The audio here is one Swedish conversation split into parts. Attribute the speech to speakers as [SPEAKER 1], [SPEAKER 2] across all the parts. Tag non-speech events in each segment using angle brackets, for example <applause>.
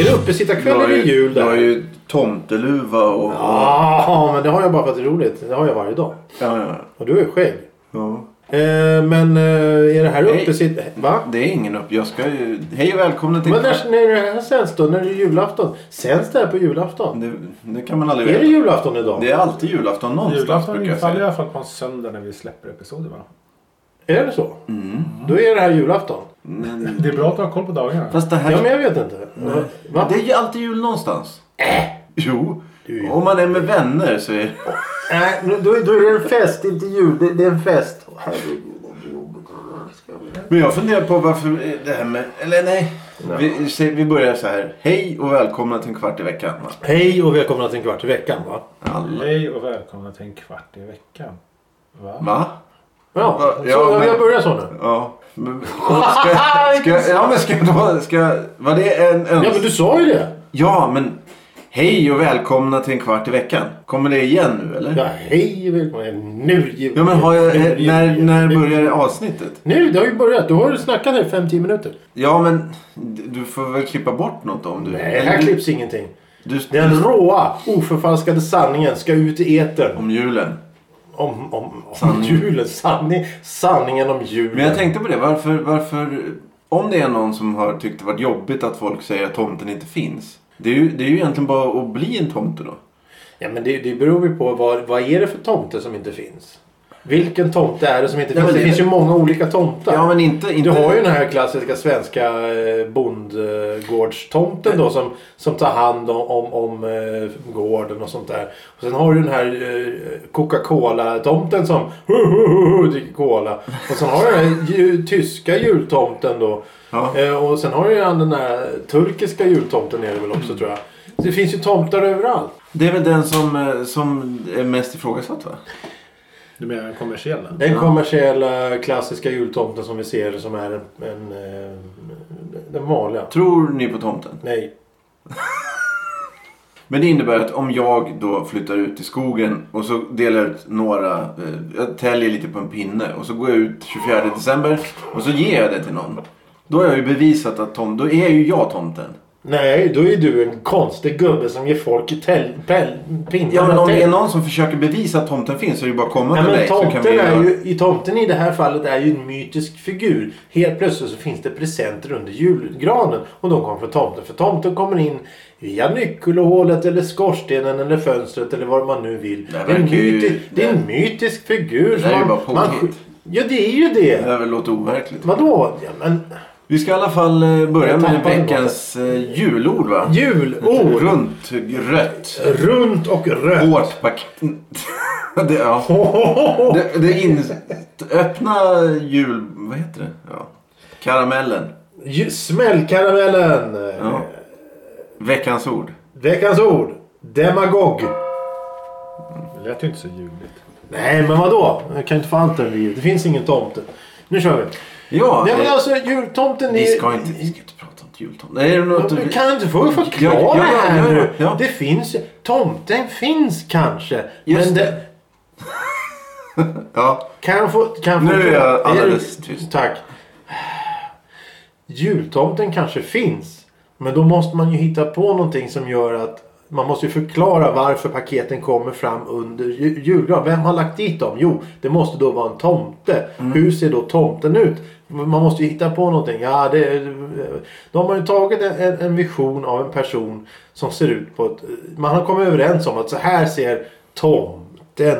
[SPEAKER 1] Är det uppesittarkväll
[SPEAKER 2] har
[SPEAKER 1] eller
[SPEAKER 2] ju-
[SPEAKER 1] jul
[SPEAKER 2] Jag har
[SPEAKER 1] där?
[SPEAKER 2] ju tomteluva och... och ja.
[SPEAKER 1] Ja, men det har jag bara för att det är roligt. Det har jag varje dag.
[SPEAKER 2] Ja, ja,
[SPEAKER 1] Och du har ju skägg. Eh, men eh, är det här
[SPEAKER 2] Nej.
[SPEAKER 1] uppesitt... Va?
[SPEAKER 2] Det är ingen upp... Jag ska ju... Hej och välkomna till...
[SPEAKER 1] Men när, när det här sänds då? När det är julafton? Sänds det här på julafton?
[SPEAKER 2] Det, det kan man aldrig
[SPEAKER 1] Är det
[SPEAKER 2] veta.
[SPEAKER 1] julafton idag?
[SPEAKER 2] Det är alltid julafton någonstans
[SPEAKER 3] Julafton
[SPEAKER 2] brukar jag
[SPEAKER 3] infaller i
[SPEAKER 2] säga.
[SPEAKER 3] alla fall på en söndag när vi släpper episoder va?
[SPEAKER 1] Är det Mm. så? Då är det här julafton.
[SPEAKER 2] Men,
[SPEAKER 3] Det är bra att ha koll på dagarna.
[SPEAKER 2] fast det här...
[SPEAKER 1] Ja, men jag vet inte. Va?
[SPEAKER 2] Det är ju alltid jul någonstans. Äh. Jo.
[SPEAKER 1] Du-
[SPEAKER 2] Om man är med vänner så är
[SPEAKER 1] Nej, nu- då, då är det en fest, inte jul. Det, det är en fest.
[SPEAKER 2] Men jag funderar på varför det här med... Eller nej. Vi, se- vi börjar så här. Hej och välkomna till en kvart i veckan. va?
[SPEAKER 1] Hej och välkomna till en kvart i veckan, va?
[SPEAKER 2] Alla.
[SPEAKER 3] Hej och välkomna till en kvart i veckan. Va?
[SPEAKER 2] Va?
[SPEAKER 1] Ja,
[SPEAKER 2] Va-
[SPEAKER 1] så,
[SPEAKER 2] ja, men-
[SPEAKER 1] jag börjar så nu.
[SPEAKER 2] Ja. Men,
[SPEAKER 1] <laughs>
[SPEAKER 2] ska, ska, ja men ska då... Ska, var det en öns...
[SPEAKER 1] Ja, men du sa ju det.
[SPEAKER 2] Ja men... Hej och välkomna till en kvart i veckan. Kommer det igen nu eller?
[SPEAKER 1] Ja, hej och välkomna. Nu
[SPEAKER 2] Ja, men har jag, eh, när, när börjar avsnittet?
[SPEAKER 1] Nu, det har ju börjat. Du har ju snackat här i fem, tio minuter.
[SPEAKER 2] Ja men d- du får väl klippa bort något om du...
[SPEAKER 1] Nej, här klipps ingenting.
[SPEAKER 2] Du,
[SPEAKER 1] Den råa, oförfalskade sanningen ska ut i etern.
[SPEAKER 2] om julen.
[SPEAKER 1] Om, om, om julen. Sanning, sanningen om julen.
[SPEAKER 2] Men jag tänkte på det, varför, varför... Om det är någon som har tyckt det varit jobbigt att folk säger att tomten inte finns. Det är ju, det är ju egentligen bara att bli en tomte då.
[SPEAKER 1] Ja, men det, det beror ju på vad, vad är det för tomte som inte finns. Vilken tomte är det som inte
[SPEAKER 2] Ja,
[SPEAKER 1] finns?
[SPEAKER 2] men
[SPEAKER 1] Det
[SPEAKER 2] det-
[SPEAKER 1] finns ju många olika tomtar.
[SPEAKER 2] Ja men inte...
[SPEAKER 1] Du
[SPEAKER 2] inte...
[SPEAKER 1] har ju den här klassiska svenska eh, bondgårdstomten då som, som tar hand om, om, om eh, gården och sånt där. Och sen har du den här eh, Coca-Cola-tomten som dricker cola. Och sen har du den här ju, tyska jultomten då.
[SPEAKER 2] Ja.
[SPEAKER 1] Eh, och sen har du ju den där turkiska jultomten är det väl också tror jag. Så Det finns ju tomtar överallt.
[SPEAKER 2] Det är väl den som, eh, som är mest ifrågasatt va?
[SPEAKER 3] Du menar den kommersiella?
[SPEAKER 1] Den kommersiella klassiska jultomten som vi ser som är en, en, eh, den vanliga.
[SPEAKER 2] Tror ni på tomten?
[SPEAKER 1] Nej,
[SPEAKER 2] Men det innebär att om jag då flyttar ut i skogen och så delar jag ut några... eh, Jag täljer lite på en pinne och så går jag ut 24 december och så ger jag det till någon. Då har jag ju bevisat att tom, då är ju jag tomten.
[SPEAKER 1] Nej, då är du en konstig gubbe som ger folk täl, pel, pinnar.
[SPEAKER 2] Ja men om det är
[SPEAKER 1] täl-
[SPEAKER 2] någon som försöker bevisa att tomten finns så är det ju bara att komma
[SPEAKER 1] Nej,
[SPEAKER 2] till
[SPEAKER 1] men
[SPEAKER 2] dig. så kan
[SPEAKER 1] tomten,
[SPEAKER 2] vi göra-
[SPEAKER 1] är ju, i tomten i det här fallet är ju en mytisk figur. Helt plötsligt så finns det presenter under julgranen och de kommer från tomten. För tomten kommer in via nyckelhålet eller skorstenen eller fönstret eller vad man nu vill.
[SPEAKER 2] Det här
[SPEAKER 1] Det är en,
[SPEAKER 2] verkar ju-
[SPEAKER 1] mytisk, det är en mytisk figur.
[SPEAKER 2] Det där är
[SPEAKER 1] som
[SPEAKER 2] ju
[SPEAKER 1] man-
[SPEAKER 2] bara
[SPEAKER 1] man-
[SPEAKER 2] påhitt.
[SPEAKER 1] Ja, det är ju det.
[SPEAKER 2] Det här väl låter overkligt.
[SPEAKER 1] Vadå? Ja, men,
[SPEAKER 2] Vi ska i alla fall eh, börja
[SPEAKER 1] Jag
[SPEAKER 2] med
[SPEAKER 1] tappade
[SPEAKER 2] veckans eh, julord va?
[SPEAKER 1] julord.
[SPEAKER 2] Runt, rött,
[SPEAKER 1] Runt och rött.
[SPEAKER 2] hårt paket. <laughs> det, ja. det, det in... Öppna jul... Vad heter det? Ja. Karamellen.
[SPEAKER 1] Ju- Smällkaramellen.
[SPEAKER 2] Ja. Veckans ord.
[SPEAKER 1] Veckans ord. Demagog.
[SPEAKER 3] Det lät ju inte så ljuvligt.
[SPEAKER 1] Nej, men vadå? Jag kan inte få allt över Det finns ingen tomte. Nu kör vi.
[SPEAKER 2] Ja,
[SPEAKER 1] Nej, men
[SPEAKER 2] eh,
[SPEAKER 1] alltså jultomten är...
[SPEAKER 2] vi, ska inte, vi ska inte prata om jultomten. Är det något...
[SPEAKER 1] Du kan inte få förklara
[SPEAKER 2] Ja, ja, ja,
[SPEAKER 1] här
[SPEAKER 2] ja,
[SPEAKER 1] nu.
[SPEAKER 2] ja.
[SPEAKER 1] Det finns... Tomten finns kanske.
[SPEAKER 2] Just
[SPEAKER 1] men
[SPEAKER 2] det. Ja.
[SPEAKER 1] Kan jag få... Kan jag få
[SPEAKER 2] Nu är jag
[SPEAKER 1] det-
[SPEAKER 2] alldeles tyst.
[SPEAKER 1] Tack. Jultomten kanske finns. Men då måste man ju hitta på någonting som gör att man måste ju förklara varför paketen kommer fram under ju- julgranen. Vem har lagt dit dem? Jo, det måste då vara en tomte.
[SPEAKER 2] Mm.
[SPEAKER 1] Hur ser då tomten ut? Man måste ju hitta på någonting. Ja, det, de har ju tagit en- en, en vision av en person som ser ut på ett... Man har kommit överens om att så här ser tomten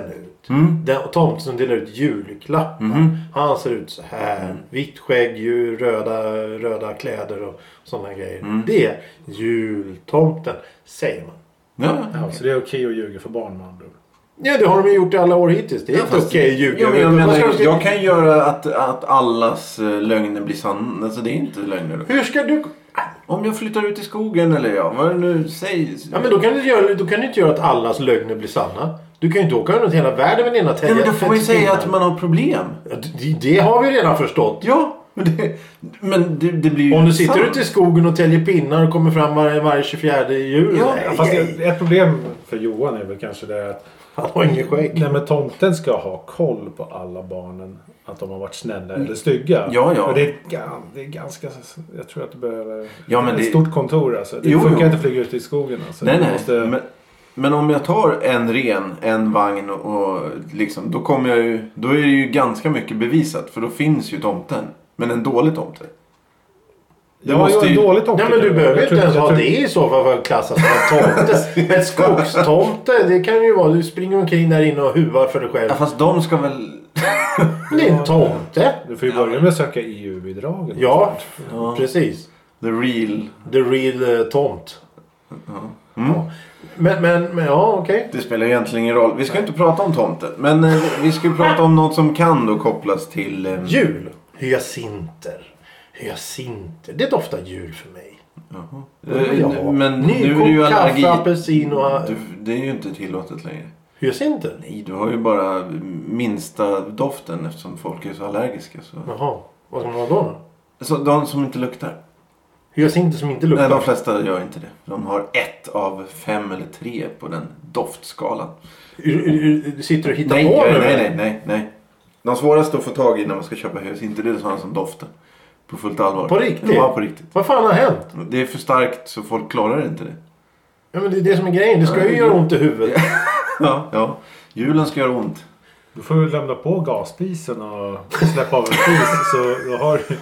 [SPEAKER 1] ut.
[SPEAKER 2] Mm.
[SPEAKER 1] Den, och tomten som delar ut julklappar.
[SPEAKER 2] Mm-hmm.
[SPEAKER 1] Han ser ut så här.
[SPEAKER 2] Mm.
[SPEAKER 1] Vitt skägg, ju, röda, röda kläder och sådana grejer.
[SPEAKER 2] Mm.
[SPEAKER 1] Det är jultomten, säger man.
[SPEAKER 2] Ja.
[SPEAKER 3] Ja, så det är okej att ljuga för barn med andra ord.
[SPEAKER 1] Ja, det har de ju gjort i alla år hittills. Det är inte
[SPEAKER 2] fast-
[SPEAKER 1] okej att ljuga.
[SPEAKER 2] Ja, men jag,
[SPEAKER 1] Vad
[SPEAKER 2] menar,
[SPEAKER 1] ska de-
[SPEAKER 2] jag kan göra att, att allas eh, lögner blir sanna. Alltså det är inte lögner. då.
[SPEAKER 1] Hur ska du...
[SPEAKER 2] Om jag flyttar ut i skogen eller ja, vad det nu sägs.
[SPEAKER 1] Ja, men då kan du, inte göra, då kan du inte göra att allas lögner blir sanna. Du kan ju inte åka runt hela världen med dina
[SPEAKER 2] Ja,
[SPEAKER 1] tänder.
[SPEAKER 2] men då får man ju säga att man har problem.
[SPEAKER 1] Det, det har vi redan förstått.
[SPEAKER 2] Ja, Det, men det, det blir ju
[SPEAKER 1] Om du sitter
[SPEAKER 2] sant.
[SPEAKER 1] ute i skogen och täljer pinnar och kommer fram varje, varje 24 jul.
[SPEAKER 2] Ja.
[SPEAKER 1] Nej,
[SPEAKER 3] Ja, fast ett, ett problem för Johan är väl kanske det att
[SPEAKER 1] Han har ingen skägg.
[SPEAKER 3] nej, men tomten ska ha koll på alla barnen. Att de har varit snälla eller stygga.
[SPEAKER 2] Mm. Ja, ja.
[SPEAKER 3] Och det, är, ga- det är ganska... Jag tror att du behöver
[SPEAKER 2] Ja, men
[SPEAKER 3] ett
[SPEAKER 2] det-
[SPEAKER 3] stort kontor. Alltså. Det
[SPEAKER 2] Jo,
[SPEAKER 3] funkar
[SPEAKER 2] jo.
[SPEAKER 3] inte att flyga ut i skogen. Alltså.
[SPEAKER 2] Nej,
[SPEAKER 3] Du
[SPEAKER 2] nej.
[SPEAKER 3] Måste,
[SPEAKER 2] Men, men om jag tar en ren, en vagn och och liksom, då kommer jag ju, då är det ju ganska mycket bevisat för då finns ju tomten. Men en dålig tomte. Det
[SPEAKER 3] jag
[SPEAKER 2] måste
[SPEAKER 3] måste
[SPEAKER 2] ju-
[SPEAKER 3] en dålig tomte.
[SPEAKER 1] Nej men du
[SPEAKER 3] Jag
[SPEAKER 1] behöver
[SPEAKER 3] tror-
[SPEAKER 1] inte ens
[SPEAKER 3] jag
[SPEAKER 1] ha
[SPEAKER 3] tror-
[SPEAKER 1] det i så fall för att klassas som en tomte. En skogstomte, det kan ju vara. Du springer omkring där inne och huvar för dig själv.
[SPEAKER 2] Ja, fast de ska väl...
[SPEAKER 1] Det är en tomte.
[SPEAKER 3] Du får ju börja med att söka E EU-bidrag.
[SPEAKER 1] Ja, precis.
[SPEAKER 2] The real...
[SPEAKER 1] The real eh, tomt.
[SPEAKER 2] Mm.
[SPEAKER 1] Ja. Men, men, men ja okej.
[SPEAKER 2] Det spelar egentligen ingen roll. Vi ska ju inte prata om tomten. Men eh, vi ska ju prata om något som kan då kopplas till... Eh,
[SPEAKER 1] Jul. Hyacinter. Hyacinter. Det doftar jul för mig.
[SPEAKER 2] jaha.
[SPEAKER 1] vill jag ha.
[SPEAKER 2] Eh, men nu är
[SPEAKER 1] Nykokt
[SPEAKER 2] det ju
[SPEAKER 1] kaffe,
[SPEAKER 2] allergi.
[SPEAKER 1] apelsin och-
[SPEAKER 2] Du, det är ju inte tillåtet längre.
[SPEAKER 1] Hyacinter?
[SPEAKER 2] Nej, du har ju bara minsta doften eftersom folk är så allergiska. Så.
[SPEAKER 1] Jaha. Vad ska man ha då? då?
[SPEAKER 2] Så de som inte luktar?
[SPEAKER 1] Hyacinter som inte
[SPEAKER 2] Nej,
[SPEAKER 1] luktar.
[SPEAKER 2] de flesta gör inte det. De har ett av fem eller tre på den doftskalan.
[SPEAKER 1] Ur- ur- ur- Sitter du och hittar
[SPEAKER 2] Nej,
[SPEAKER 1] på
[SPEAKER 2] nej,
[SPEAKER 1] nu?
[SPEAKER 2] nej, nej, nej, nej. De svåraste att få tag i när man ska köpa hus, inte det är sådana som doftar. På fullt allvar.
[SPEAKER 1] På riktigt?
[SPEAKER 2] Ja, på riktigt.
[SPEAKER 1] Vad fan har hänt?
[SPEAKER 2] Det är för starkt så folk klarar inte det.
[SPEAKER 1] Ja, men det är det som är grejen. Det ska ju
[SPEAKER 2] Ja,
[SPEAKER 1] göra
[SPEAKER 2] ja.
[SPEAKER 1] ont i huvudet.
[SPEAKER 2] Ja, ja. Julen ska göra ont.
[SPEAKER 3] Du får ju lämna på gasspisen och släppa av en spis. Så då har, du-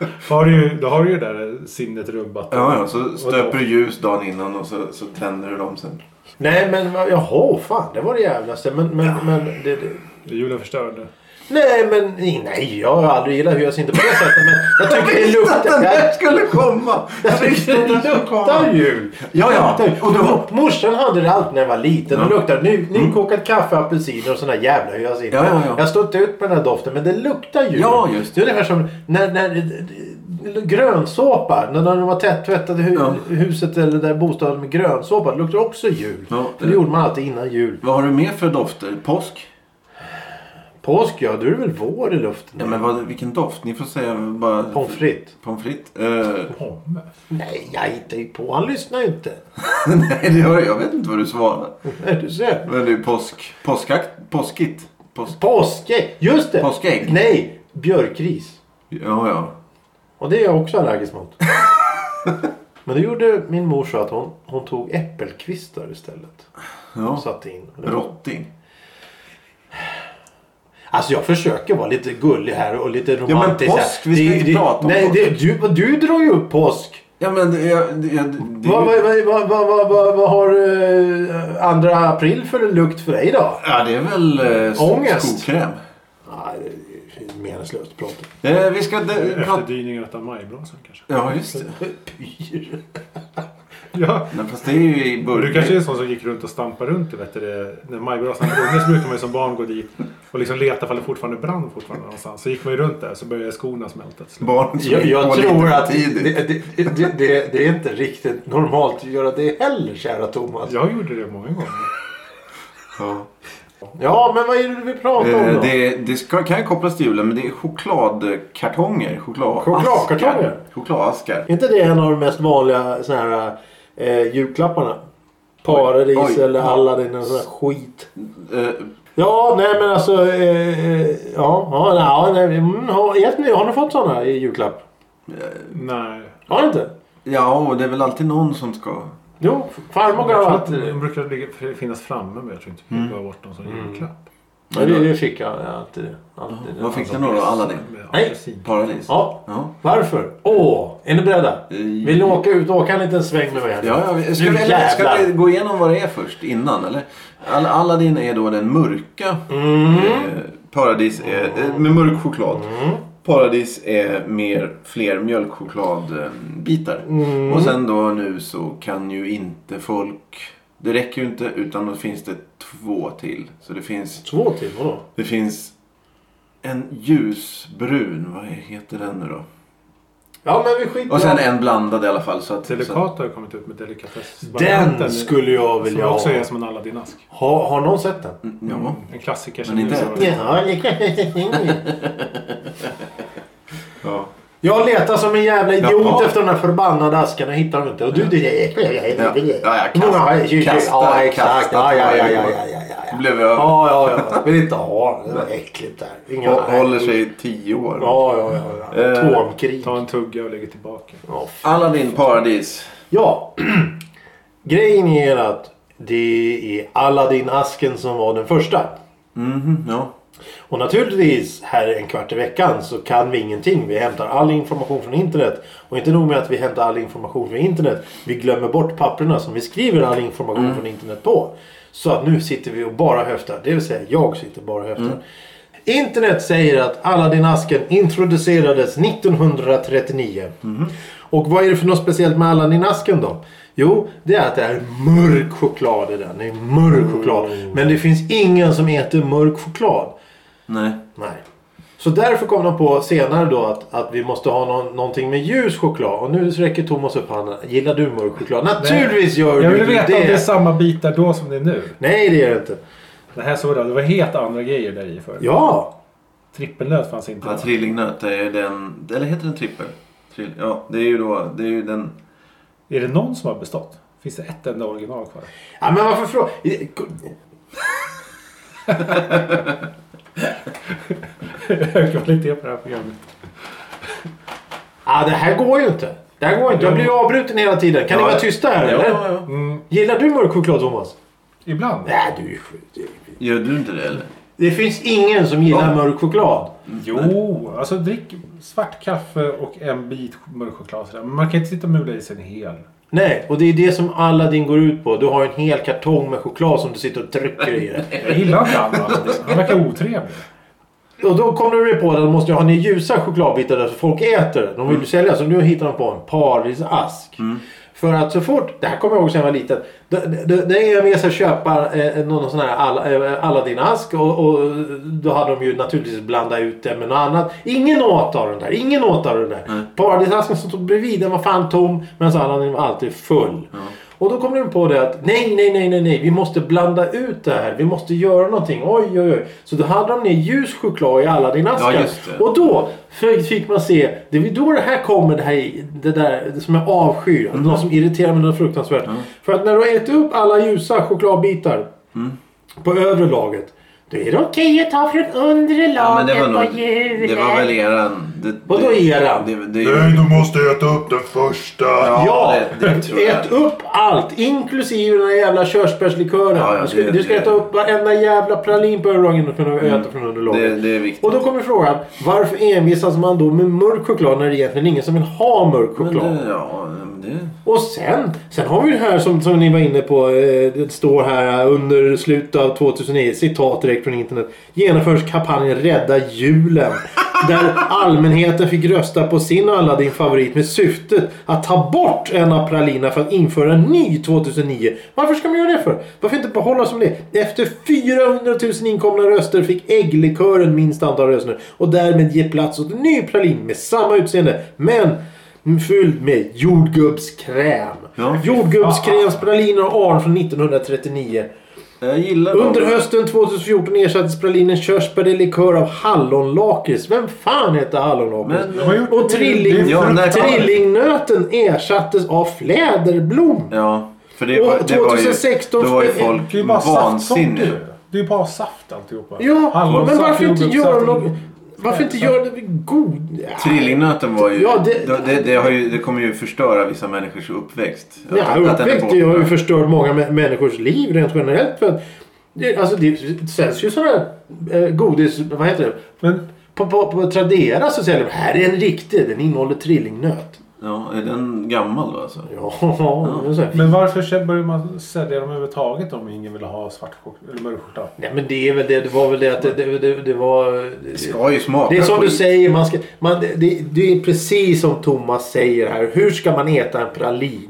[SPEAKER 3] då har du ju då har du ju det där sinnet rubbat.
[SPEAKER 2] Ja, ja. Så
[SPEAKER 3] doft.
[SPEAKER 2] stöper du ljus dagen innan och så, så tänder du dem sen.
[SPEAKER 1] Nej men vad- jaha, fan det var det jävlaste. Men, men, men det, det...
[SPEAKER 3] Är Julen förstörd.
[SPEAKER 1] Nej men nej, jag har aldrig gillat hyacinter på det sättet. Men jag tycker
[SPEAKER 2] <laughs>
[SPEAKER 1] det luktar... Jag,
[SPEAKER 2] skulle komma!
[SPEAKER 1] jag tycker det luktar jul.
[SPEAKER 2] Ja, ja.
[SPEAKER 1] Det luktar ju.
[SPEAKER 2] Och du har-
[SPEAKER 1] Morsan hade det alltid när jag var liten. Det
[SPEAKER 2] Ja. Mm.
[SPEAKER 1] luktade ny, nykokat kaffe, apelsiner och såna jävla hyacinter.
[SPEAKER 2] Ja, ja, ja.
[SPEAKER 1] Jag stod inte ut med den här doften men det luktar jul.
[SPEAKER 2] Ja, just
[SPEAKER 1] det. är ungefär som när, när grönsåpa. När när de var tvättade hu,
[SPEAKER 2] Ja.
[SPEAKER 1] huset eller där bostaden med grönsåpa. Det luktar också jul.
[SPEAKER 2] Ja.
[SPEAKER 1] För det gjorde man alltid innan jul.
[SPEAKER 2] Vad har du mer för dofter? Påsk?
[SPEAKER 1] Påsk ja, då är det väl vår i luften?
[SPEAKER 2] Ja, men vad, vilken doft? Ni får säga bara...
[SPEAKER 1] Pommes frites?
[SPEAKER 2] Pommes frites? Eh, <laughs>
[SPEAKER 3] Pomme.
[SPEAKER 1] Nej, jag hittar ju på. Han lyssnar ju inte.
[SPEAKER 2] nej, det har, jag vet inte vad du svarar.
[SPEAKER 1] Nej, du ser.
[SPEAKER 2] Men det är påsk... Påskakt? Påskigt? Påsk...
[SPEAKER 1] Påske! Just det!
[SPEAKER 2] Påskägg?
[SPEAKER 1] Nej, björkris.
[SPEAKER 2] Ja, ja.
[SPEAKER 1] Och det är jag också allergisk
[SPEAKER 2] <laughs>
[SPEAKER 1] mot. men det gjorde min mor så att hon, hon tog äppelkvistar istället. Och
[SPEAKER 2] ja.
[SPEAKER 1] satte in.
[SPEAKER 2] Rotting?
[SPEAKER 1] Alltså jag försöker vara lite gullig här och lite
[SPEAKER 2] men
[SPEAKER 1] romantisk. här.
[SPEAKER 2] påsk, vi ska
[SPEAKER 1] Det-
[SPEAKER 2] inte
[SPEAKER 1] det-
[SPEAKER 2] prata om
[SPEAKER 1] Nej,
[SPEAKER 2] påsk.
[SPEAKER 1] det, du, du drar ju upp påsk.
[SPEAKER 2] Ja, men det, jag, det, jag, det,
[SPEAKER 1] Vad vad- vad- vad- vad- vad- vad- vad har eh, andra april för lukt för dig då?
[SPEAKER 2] Ja, det är väl eh,
[SPEAKER 1] Ångest.
[SPEAKER 2] skokräm.
[SPEAKER 1] Nej, det är meningslöst prat.
[SPEAKER 2] Eh, vi ska... De, prata...
[SPEAKER 3] Efterdyningar av majbrasan kanske.
[SPEAKER 2] Ja, just det.
[SPEAKER 1] <laughs> Pyr.
[SPEAKER 3] Ja.
[SPEAKER 2] Nej, fast det är ju i början.
[SPEAKER 3] Du kanske är en sån som gick runt och stampade runt. Vet du, det. när majbrasan brann så brukar man ju som barn gå dit och liksom leta ifall det fortfarande brann fortfarande någonstans. Så gick man ju runt där så började skorna smälta till slut.
[SPEAKER 2] Barn som
[SPEAKER 1] Jag, jag
[SPEAKER 2] går lite
[SPEAKER 1] tror
[SPEAKER 2] för
[SPEAKER 1] att det,
[SPEAKER 2] tidigt.
[SPEAKER 1] det, det, det, det är inte riktigt normalt att göra det heller, kära Thomas.
[SPEAKER 3] Jag gjorde det många gånger.
[SPEAKER 2] Ja.
[SPEAKER 1] Ja, men vad är det du vill prata om då?
[SPEAKER 2] Eh, Det, det ska, kan kopplas till julen men det är chokladkartonger. Chokladaskar.
[SPEAKER 1] Chokladkartonger?
[SPEAKER 2] Chokladaskar.
[SPEAKER 1] Är inte det en av de mest vanliga såna här, eh, julklapparna? Paradis
[SPEAKER 2] Oj, oj.
[SPEAKER 1] eller Aladdin och sån där skit.
[SPEAKER 2] Eh,
[SPEAKER 1] Ja, nej men alltså... Eh, eh, ja, ja, nej, ja, nej, mm, har, vet ni, har ni fått såna i julklapp?
[SPEAKER 3] Nej.
[SPEAKER 1] Har ni inte?
[SPEAKER 2] ja, och det är väl alltid någon som ska...
[SPEAKER 1] Jo, farmor har
[SPEAKER 3] Jag tror att
[SPEAKER 1] alltid
[SPEAKER 3] De brukar ligga- finnas framme men jag tror inte vi gav bort dem som julklapp.
[SPEAKER 1] Ja, det, det fick jag alltid. alltid
[SPEAKER 2] Vad fick du då? Aladdin?
[SPEAKER 3] Med
[SPEAKER 1] Nej.
[SPEAKER 3] apelsin.
[SPEAKER 2] Paradis?
[SPEAKER 1] Ja,
[SPEAKER 2] Ja.
[SPEAKER 1] varför? Åh, är ni beredda?
[SPEAKER 2] Eh,
[SPEAKER 1] Vill ni åka ut och åka en liten sväng med mig? här nu?
[SPEAKER 2] Ja, ja, ska,
[SPEAKER 1] Nu
[SPEAKER 2] vi, eller, ska
[SPEAKER 1] jävlar.
[SPEAKER 2] vi gå igenom vad det är först innan? Eller? All, Aladdin är då den mörka. Eh, paradis är eh, med mörk choklad. Paradis är mer fler mjölkchokladbitar. Och sen då nu så kan ju inte folk... Det räcker ju inte utan då finns det två till. Så det finns,
[SPEAKER 1] Två till, vadå?
[SPEAKER 2] det finns en ljusbrun, vad heter den nu då?
[SPEAKER 1] Ja, men vi skiter
[SPEAKER 2] Och
[SPEAKER 1] i
[SPEAKER 2] sen
[SPEAKER 1] det.
[SPEAKER 2] en blandad i alla fall. Så att, så att,
[SPEAKER 3] Delicat har ju kommit ut med delikatessvarianten.
[SPEAKER 1] Den skulle jag vilja
[SPEAKER 3] Som också är
[SPEAKER 1] ha.
[SPEAKER 3] som en Aladdin-ask.
[SPEAKER 1] ha. Har någon sett den?
[SPEAKER 2] ja.
[SPEAKER 3] En klassiker.
[SPEAKER 2] Men inte
[SPEAKER 3] vi
[SPEAKER 2] ätit.
[SPEAKER 3] sa.
[SPEAKER 1] Ja,
[SPEAKER 2] Ja.
[SPEAKER 1] Jag letar som en jävla idiot
[SPEAKER 2] Jaha.
[SPEAKER 1] efter de där förbannade askarna och hittar dem inte. Och du... du-
[SPEAKER 2] Ja, ja,
[SPEAKER 1] Hur många har
[SPEAKER 2] kasta,
[SPEAKER 1] jag? Tjugo-
[SPEAKER 2] kasta,
[SPEAKER 1] Ja, exakt.
[SPEAKER 2] kasta.
[SPEAKER 1] Ja, ja, ja, ja, ja, ja,
[SPEAKER 2] Det
[SPEAKER 1] ja.
[SPEAKER 2] blev över.
[SPEAKER 1] Ja, ja, ja. Jag vill inte ha. Det var äckligt där. Inga...
[SPEAKER 2] Hå- Håller sig i tio år.
[SPEAKER 1] Ja, ja, ja. ja.
[SPEAKER 2] Eh,
[SPEAKER 1] Atomkrig.
[SPEAKER 3] Ta en tugga och lägger tillbaka.
[SPEAKER 1] Ja,
[SPEAKER 2] Aladdin paradis.
[SPEAKER 1] Ja, <clears throat> grejen är att det är Aladdin-asken som var den första.
[SPEAKER 2] Mhm, ja.
[SPEAKER 1] Och naturligtvis här en kvart i veckan så kan vi ingenting. Vi hämtar all information från internet. Och inte nog med att vi hämtar all information från internet. Vi glömmer bort papperna som vi skriver all information från internet på. Så att nu sitter vi och bara höftar. Det vill säga jag sitter bara och höftar. Internet säger att Aladdin-asken introducerades 1939. Och vad är det för något speciellt med Aladdin-asken då? Jo, det är att det är mörk choklad i den. Det är mörk choklad. Men det finns ingen som äter mörk choklad.
[SPEAKER 2] Nej.
[SPEAKER 1] Nej. Så därför kom de på senare då att, att vi måste ha någon, någonting med ljus choklad. Och nu räcker Thomas upp handen. Gillar du mörk choklad? Naturligtvis gör
[SPEAKER 3] Jag
[SPEAKER 1] du
[SPEAKER 3] vill veta
[SPEAKER 1] det.
[SPEAKER 3] om det är samma bitar då som det är nu.
[SPEAKER 1] Nej, det gör det inte.
[SPEAKER 3] Det här såg jag. Det var helt andra grejer där i förr.
[SPEAKER 1] Ja!
[SPEAKER 3] Trippelnöt fanns inte.
[SPEAKER 2] Ja, trillingnöt är den... Eller heter den trippel? Trill, ja, det är ju då... Det är ju den...
[SPEAKER 3] Är det någon som har bestått? Finns det ett enda original <laughs> kvar?
[SPEAKER 1] ja men varför fråga?
[SPEAKER 3] Hög kvalitet på det här programmet.
[SPEAKER 1] Ja, det här går ju inte. Det här går inte. Jag blir ju avbruten hela tiden. Kan ni
[SPEAKER 2] Ja.
[SPEAKER 1] vara tysta här
[SPEAKER 2] Ja,
[SPEAKER 1] eller? Mm.
[SPEAKER 2] ja, ja.
[SPEAKER 1] Gillar du mörk choklad Thomas?
[SPEAKER 3] Ibland.
[SPEAKER 1] Nej, du är sjuk. Det-
[SPEAKER 2] Gör du inte det eller?
[SPEAKER 1] Det finns ingen som gillar
[SPEAKER 2] Ja.
[SPEAKER 1] mörk choklad.
[SPEAKER 3] Jo, alltså drick svart kaffe och en bit mörk choklad. sådär. Men man kan inte sitta och mula i sig en hel.
[SPEAKER 1] Nej, och det är det som Aladdin går ut på. Du har en hel kartong med choklad som du sitter och trycker i. Det.
[SPEAKER 3] Jag gillar inte Alma. alltså. Han verkar otrevlig.
[SPEAKER 1] Och då kom de ju på att de måste ju ha ner ljusa chokladbitar där så folk äter. det. De vill ju sälja så nu hittar de på en parvisask. För att så fort, det här kommer jag ihåg sen jag var liten. Då- då- När jag med sig köpa eh, någon sån här Al- eh, Aladdin-ask och, och då hade de ju naturligtvis blandat ut det med något annat. Ingen åt av den där. Ingen åt av den där. Paradisasken som stod bredvid den var fan tom medan Aladdin var alltid full. Och då kom de på det att nej, nej, nej, nej, nej. Vi måste blanda ut det här. Vi måste göra någonting. Oj, oj, oj. Så då hade de ner ljus choklad i Aladdin-asken.
[SPEAKER 2] Ja, just det.
[SPEAKER 1] Och då fick fick man se, det är då det här kommer, det, här, det där det som jag avskyr.
[SPEAKER 2] Mhm.
[SPEAKER 1] Något som irriterar mig något fruktansvärt. För att när du har ätit upp alla ljusa chokladbitar
[SPEAKER 2] Mm.
[SPEAKER 1] på övre laget. Då är det okej att ta från undre laget
[SPEAKER 2] Ja, men det var
[SPEAKER 1] på
[SPEAKER 2] nog...
[SPEAKER 1] hjulet.
[SPEAKER 2] Det var väl eran... Det,
[SPEAKER 1] Vadå
[SPEAKER 2] det-
[SPEAKER 1] eran?
[SPEAKER 2] Det, det,
[SPEAKER 4] Nej, du måste äta upp den första.
[SPEAKER 1] Ja,
[SPEAKER 2] det, det tror jag.
[SPEAKER 1] ät upp allt inklusive den här jävla körsbärslikören.
[SPEAKER 2] Ja, ja,
[SPEAKER 1] du ska,
[SPEAKER 2] det-
[SPEAKER 1] du ska
[SPEAKER 2] det- Mm.
[SPEAKER 1] äta upp varenda jävla pralin på överlagen och kunna äta från underlaget.
[SPEAKER 2] Det, det är viktigt.
[SPEAKER 1] Och då kommer frågan, varför envisas man då med mörk choklad när det egentligen är ingen som vill ha mörk
[SPEAKER 2] Men
[SPEAKER 1] choklad?
[SPEAKER 2] det, ja, men det...
[SPEAKER 1] Och sen, sen har vi det här som, som ni var inne på. Eh, det står här under slutet av 2009. Citat direkt från internet. Genomförs kampanjen Rädda julen. Där allmänheten fick rösta på sin och alla din favorit med syftet att ta bort en av pralinerna för att införa en ny 2009. Varför ska man göra det för? Varför inte behålla som det? Efter 400 000 inkomna röster fick ägglikören minst antal röster. Och därmed ge plats åt en ny pralin med samma utseende. Men Mm, Fylld med jordgubbskräm.
[SPEAKER 2] Ja.
[SPEAKER 1] Jordgubbskrämspraliner och arn från 1939.
[SPEAKER 2] Jag gillar dem.
[SPEAKER 1] Under hösten 2014 ersattes pralinen körsbär i likör av hallonlakrits. Vem fan heter hallonlakrits?
[SPEAKER 2] Men-
[SPEAKER 3] De har gjort-
[SPEAKER 1] Och trilling,
[SPEAKER 2] Ja, när-
[SPEAKER 1] trillingnöten ersattes av fläderblom.
[SPEAKER 2] Ja, för det,
[SPEAKER 1] Och
[SPEAKER 2] var, det var ju...
[SPEAKER 1] 2016
[SPEAKER 2] Då var ju
[SPEAKER 1] spel-
[SPEAKER 2] folk
[SPEAKER 3] Det är ju bara
[SPEAKER 2] vansinniga.
[SPEAKER 3] saftsocker. Det är ju bara saft alltihopa.
[SPEAKER 1] Ja,
[SPEAKER 3] Hallonsaft,
[SPEAKER 1] men varför inte
[SPEAKER 3] jordgubbssaft,
[SPEAKER 1] göra något...
[SPEAKER 3] ingen-
[SPEAKER 1] Varför inte göra det god...
[SPEAKER 2] Trillingnöten var ju...
[SPEAKER 1] Ja, det-
[SPEAKER 2] det, det, det, har ju, det kommer ju förstöra vissa människors uppväxt.
[SPEAKER 1] Ja,
[SPEAKER 2] Att- att den är
[SPEAKER 1] uppväxt det
[SPEAKER 2] borta.
[SPEAKER 1] har ju förstört många mä- människors liv rent generellt. För att, det, alltså det säljs ju sådana här eh, godis... Vad heter det?
[SPEAKER 3] Men
[SPEAKER 1] På, på, på Tradera så säljer de här är en riktig. Den innehåller trillingnöt.
[SPEAKER 2] Ja, är den gammal då alltså?
[SPEAKER 1] Ja, <laughs> det är så här.
[SPEAKER 3] Men varför sä- börjar man sälja dem överhuvudtaget om ingen vill ha svart choklad eller mörk choklad?
[SPEAKER 1] Nej men det är väl det. Det var väl det att det, det, det, det var...
[SPEAKER 2] Det ska ju smaka
[SPEAKER 1] Det är som du
[SPEAKER 2] skit.
[SPEAKER 1] säger. Man ska, man, det- det, det är precis som Thomas säger här. Hur ska man äta en pralin?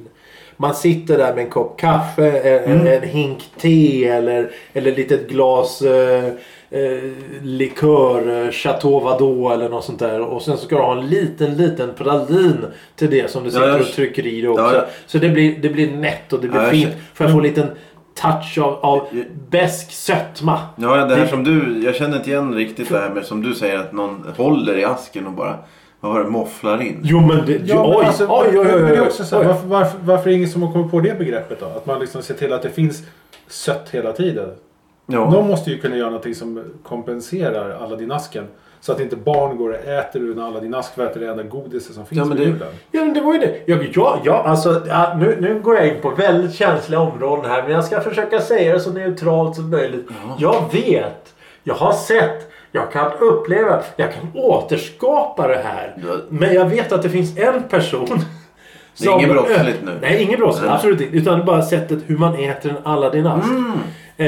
[SPEAKER 1] Man sitter där med en kopp kaffe, en, en hink te eller, eller litet glas eh, eh, likör, eh, Chateau Vadot eller något sånt där. Och sen ska du ha en liten, liten pralin till det som du sitter
[SPEAKER 2] jag-
[SPEAKER 1] och trycker i dig också.
[SPEAKER 2] Ja, jag-
[SPEAKER 1] Så det blir, det blir nätt och det blir
[SPEAKER 2] Ja, jag
[SPEAKER 1] fint. För att få en liten touch av, av besk sötma.
[SPEAKER 2] Ja, det här som du... Jag känner inte igen riktigt det här med som du säger att någon håller i asken och bara... vad var det, mofflar in.
[SPEAKER 1] Jo men det...
[SPEAKER 3] Ja, men
[SPEAKER 1] oj,
[SPEAKER 3] alltså,
[SPEAKER 1] oj, oj, oj,
[SPEAKER 3] men det
[SPEAKER 1] oj,
[SPEAKER 3] är
[SPEAKER 1] oj,
[SPEAKER 3] också så här, Varför, varför, varför är det ingen som har kommit på det begreppet då? Att man liksom ser till att det finns sött hela tiden.
[SPEAKER 2] Ja.
[SPEAKER 3] Någon måste ju kunna göra någonting som kompenserar Aladdin-asken. Så att inte barn går och äter ur en Aladdin-ask för att det är det enda godiset som finns
[SPEAKER 2] Ja, men
[SPEAKER 3] på
[SPEAKER 2] det-
[SPEAKER 3] julen.
[SPEAKER 1] Ja, men det var ju det. Ja, ja, ja alltså ja, nu, nu går jag in på väldigt känsliga områden här. Men jag ska försöka säga det så neutralt som möjligt. Jag vet. Jag har sett. Jag kan uppleva. Jag kan återskapa det här.
[SPEAKER 2] Ja.
[SPEAKER 1] Men jag vet att det finns en person.
[SPEAKER 2] Det
[SPEAKER 1] <laughs>
[SPEAKER 2] är
[SPEAKER 1] som-
[SPEAKER 2] inget brottsligt nu.
[SPEAKER 1] Nej, inget brottsligt.
[SPEAKER 2] Nej. Mm.
[SPEAKER 1] Absolut inte. Utan det är bara sättet hur man äter en Aladdin-ask. Eh,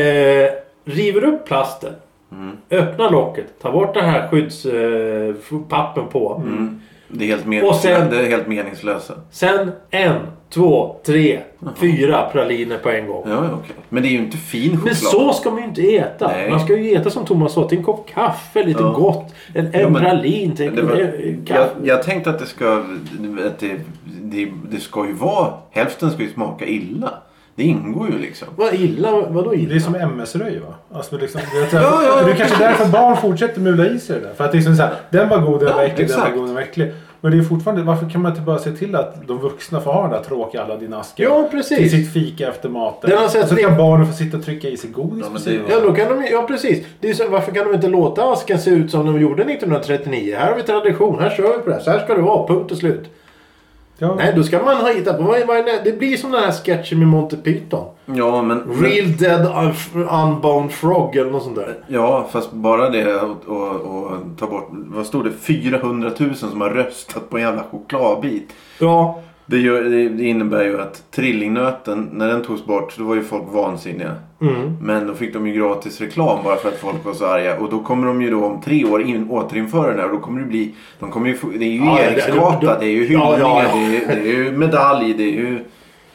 [SPEAKER 1] river upp plasten.
[SPEAKER 2] Mm.
[SPEAKER 1] Öppnar locket. Tar bort den här skyddspappen på.
[SPEAKER 2] Mm. Det är helt,
[SPEAKER 1] Och
[SPEAKER 2] men...
[SPEAKER 1] sen-
[SPEAKER 2] det är helt meningslösa.
[SPEAKER 1] Sen en, två, tre, fyra praliner på en gång.
[SPEAKER 2] Ja, ja, okej. Men det är ju inte fin choklad.
[SPEAKER 1] Men så ska man ju inte äta.
[SPEAKER 2] Nej.
[SPEAKER 1] Man ska ju äta som Thomas sa, till en kopp kaffe, lite
[SPEAKER 2] Ja.
[SPEAKER 1] gott. En, en
[SPEAKER 2] Ja, men-
[SPEAKER 1] pralin till
[SPEAKER 2] Det
[SPEAKER 1] en
[SPEAKER 2] var,
[SPEAKER 1] eh,
[SPEAKER 2] jag,
[SPEAKER 1] kaffe.
[SPEAKER 2] jag tänkte att det ska... Att det, det, det ska ju vara... Hälften ska ju smaka illa. Det ingår ju liksom.
[SPEAKER 1] Vad illa, vadå
[SPEAKER 3] Det är
[SPEAKER 1] illa?
[SPEAKER 3] som MS-röj va? Alltså, liksom, det, är
[SPEAKER 2] Ja, ja, ja.
[SPEAKER 3] det är kanske därför barn fortsätter mula i sig det där. För att det är liksom så här, den var god, den
[SPEAKER 2] Ja,
[SPEAKER 3] var äcklig, den var
[SPEAKER 2] exakt.
[SPEAKER 3] god, den var äcklig. Men det är fortfarande, varför kan man inte bara se till att de vuxna får ha den där tråkiga Aladdin-asken?
[SPEAKER 1] Ja, precis.
[SPEAKER 3] Till sitt fika efter maten.
[SPEAKER 1] Den har sett
[SPEAKER 3] Och så
[SPEAKER 1] det.
[SPEAKER 3] kan barnen få sitta och trycka i sig
[SPEAKER 2] Ja,
[SPEAKER 3] godis
[SPEAKER 2] men det-
[SPEAKER 3] på sidan.
[SPEAKER 1] Ja, då kan de, ju- ja precis. Det är så, varför kan de inte låta asken se ut som de gjorde 1939? Här har vi tradition, här kör vi på det här. Så här ska det vara, punkt och slut.
[SPEAKER 3] Ja.
[SPEAKER 1] Nej, då ska man ha hittat på... Vad är, vad är, det blir som den här sketchen med Monty Python.
[SPEAKER 2] Ja, men...
[SPEAKER 1] Real dead un- unbound frog eller något sånt där.
[SPEAKER 2] Ja, fast bara det och, och, och ta bort... Vad stod det? 400 000 som har röstat på en jävla chokladbit.
[SPEAKER 1] Ja,
[SPEAKER 2] Det, gör, det, det innebär ju att trillingnöten, när den togs bort, då var ju folk vansinniga.
[SPEAKER 1] Mm.
[SPEAKER 2] Men då fick de ju gratis reklam bara för att folk var så arga. Och då kommer de ju då om tre år in, återinföra den här och då kommer det bli... De kommer ju, få- det är ju
[SPEAKER 1] Ja, ja, det-
[SPEAKER 2] Eriksgata,
[SPEAKER 1] det-
[SPEAKER 2] det är ju hyllningar,
[SPEAKER 1] Ja, ja, ja.
[SPEAKER 2] Det, är, det är ju medalj, det är ju...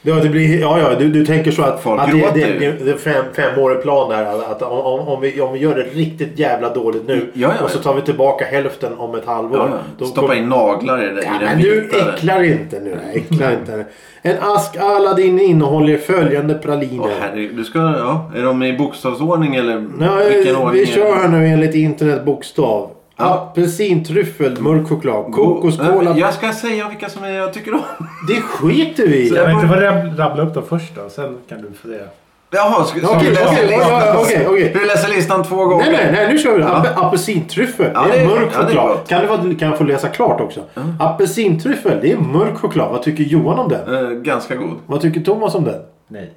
[SPEAKER 1] Ja, det blir, ja, ja du, du tänker så att,
[SPEAKER 2] Folk
[SPEAKER 1] att det,
[SPEAKER 2] gråter
[SPEAKER 1] det,
[SPEAKER 2] ju.
[SPEAKER 1] det, det är fem, femårig plan där. Att att om, om- om, vi, om vi gör det riktigt jävla dåligt nu
[SPEAKER 2] Ja, ja,
[SPEAKER 1] och så
[SPEAKER 2] ja.
[SPEAKER 1] tar vi tillbaka hälften om ett halvår.
[SPEAKER 2] Ja,
[SPEAKER 1] då
[SPEAKER 2] stoppa
[SPEAKER 1] kommer-
[SPEAKER 2] in naglar i, det, i den
[SPEAKER 1] Men du
[SPEAKER 2] vita. där.
[SPEAKER 1] äcklar inte nu. Äcklar inte. nu. En ask Aladdin innehåller följande praliner.
[SPEAKER 2] Åh, herregud, du ska, ja, är de i bokstavsordning eller
[SPEAKER 1] Nej, vi
[SPEAKER 2] är
[SPEAKER 1] kör
[SPEAKER 2] det?
[SPEAKER 1] här nu enligt internet bokstav.
[SPEAKER 2] Ja.
[SPEAKER 1] Apelsintryffel, mörk choklad, kokoskola.
[SPEAKER 2] Jag ska säga vilka som är, jag tycker om. <laughs>
[SPEAKER 1] Det skiter vi i.
[SPEAKER 3] Jag vet inte, vad rab- rabbla upp dem först då, sen kan du få det.
[SPEAKER 2] Jaha, ska, ska
[SPEAKER 1] Okej,
[SPEAKER 2] vi läsa
[SPEAKER 1] okej, ja, ja, okej, okej.
[SPEAKER 2] Du läser listan två gånger.
[SPEAKER 1] Nej, nej, nej, nu kör vi. Ape- Apelsintryffel,
[SPEAKER 2] Ja,
[SPEAKER 1] det är
[SPEAKER 2] det-
[SPEAKER 1] mörk
[SPEAKER 2] ja, det är
[SPEAKER 1] choklad.
[SPEAKER 2] gott.
[SPEAKER 1] kan, du, vara- kan jag få läsa klart också? Apelsintryffel, det är mörk choklad. Vad tycker Johan om den?
[SPEAKER 2] Eh, ganska god.
[SPEAKER 1] Vad tycker Thomas om den?
[SPEAKER 3] Nej.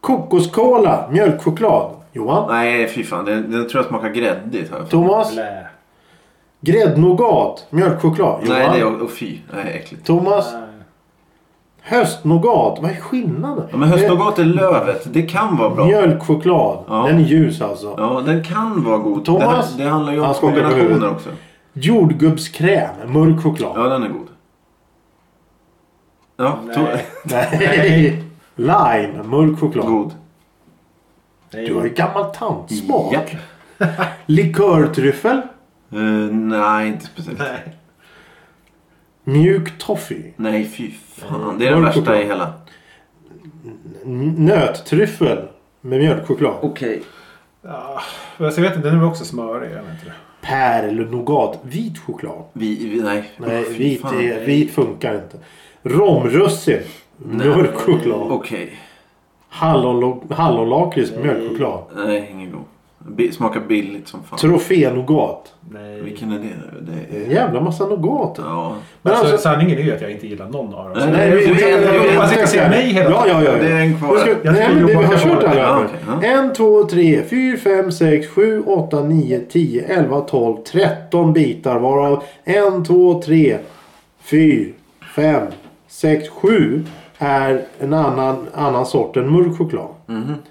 [SPEAKER 1] Kokoskola, mjölkchoklad. Johan?
[SPEAKER 2] Nej, fy fan. Den, den tror jag smakar gräddigt. Här.
[SPEAKER 1] Thomas?
[SPEAKER 3] Blä.
[SPEAKER 1] Gräddnougat, mjölkchoklad. Johan?
[SPEAKER 2] Nej, det är... Oh, fy. Nej, äckligt.
[SPEAKER 1] Thomas?
[SPEAKER 3] Nej.
[SPEAKER 1] Höstnougat, vad är skillnaden?
[SPEAKER 2] Ja, men höstnougat är lövet. Det kan vara
[SPEAKER 1] Det är
[SPEAKER 2] bra.
[SPEAKER 1] Mjölkchoklad.
[SPEAKER 2] Ja.
[SPEAKER 1] Den är ljus alltså.
[SPEAKER 2] Ja, den kan vara god.
[SPEAKER 1] Thomas?
[SPEAKER 2] Det, det handlar ju om
[SPEAKER 1] Han skakar på
[SPEAKER 2] kombinationer
[SPEAKER 1] huvudet.
[SPEAKER 2] också.
[SPEAKER 1] Jordgubbskräm, mörk choklad.
[SPEAKER 2] Ja, den är god. Ja, to-
[SPEAKER 3] Nej.
[SPEAKER 2] <laughs>
[SPEAKER 1] Nej. Lime, mörk choklad.
[SPEAKER 2] god.
[SPEAKER 1] Du har ju gammal tantsmak.
[SPEAKER 2] Ja.
[SPEAKER 1] Likörtryffel.
[SPEAKER 2] Eh, nej, inte speciellt. Nej,
[SPEAKER 3] Nej.
[SPEAKER 1] Mjuk toffee.
[SPEAKER 2] fy fan. Det är den
[SPEAKER 1] Mörk
[SPEAKER 2] värsta i
[SPEAKER 1] choklad.
[SPEAKER 2] hela.
[SPEAKER 1] N- Nöttryffel med mjölkchoklad. Och
[SPEAKER 2] Okej.
[SPEAKER 3] Ja, alltså, jag vet inte, den är väl också smörig? Jag vet inte.
[SPEAKER 1] pärl-nougat. Vit choklad.
[SPEAKER 2] Vi, vi, nej.
[SPEAKER 1] Nej,
[SPEAKER 2] Fy
[SPEAKER 1] vit,
[SPEAKER 2] fan.
[SPEAKER 1] är, vit funkar inte. Romrussin. Mörk choklad.
[SPEAKER 2] Okej.
[SPEAKER 1] Hallonlo- Hallonlakrits med mjölkchoklad.
[SPEAKER 2] Nej, ingen god. Bi- smakar billigt som fan.
[SPEAKER 1] Trofé-nougat.
[SPEAKER 3] Nej.
[SPEAKER 2] Vilken är det? det är...
[SPEAKER 1] En jävla massa nougat.
[SPEAKER 2] Ja.
[SPEAKER 3] Men alltså,
[SPEAKER 1] alltså-
[SPEAKER 3] sanningen är ju att jag inte gillar någon av dem.
[SPEAKER 2] Nej,
[SPEAKER 3] Så
[SPEAKER 1] Nej,
[SPEAKER 3] det-
[SPEAKER 1] vi, vi,
[SPEAKER 3] det-
[SPEAKER 2] vi-
[SPEAKER 3] det-
[SPEAKER 2] vi-
[SPEAKER 3] man sitter och säger nej hela
[SPEAKER 1] ja,
[SPEAKER 3] tiden.
[SPEAKER 1] ja, ja.
[SPEAKER 2] Det är en kvar.
[SPEAKER 1] Jag ska-
[SPEAKER 2] Jag
[SPEAKER 3] tycker
[SPEAKER 1] nej, men det, vi
[SPEAKER 3] Johan
[SPEAKER 1] har
[SPEAKER 3] kan
[SPEAKER 1] kört
[SPEAKER 3] hålla
[SPEAKER 1] alla.
[SPEAKER 3] det.
[SPEAKER 2] Ja,
[SPEAKER 1] här.
[SPEAKER 2] okej, ja.
[SPEAKER 1] 1, 2, 3, 4, 5, 6, 7, 8, 9, 10, 11, 12, 13 bitar. Varav 1, 2, 3, 4, 5, 6, 7 är en annan, annan sort än mörk choklad.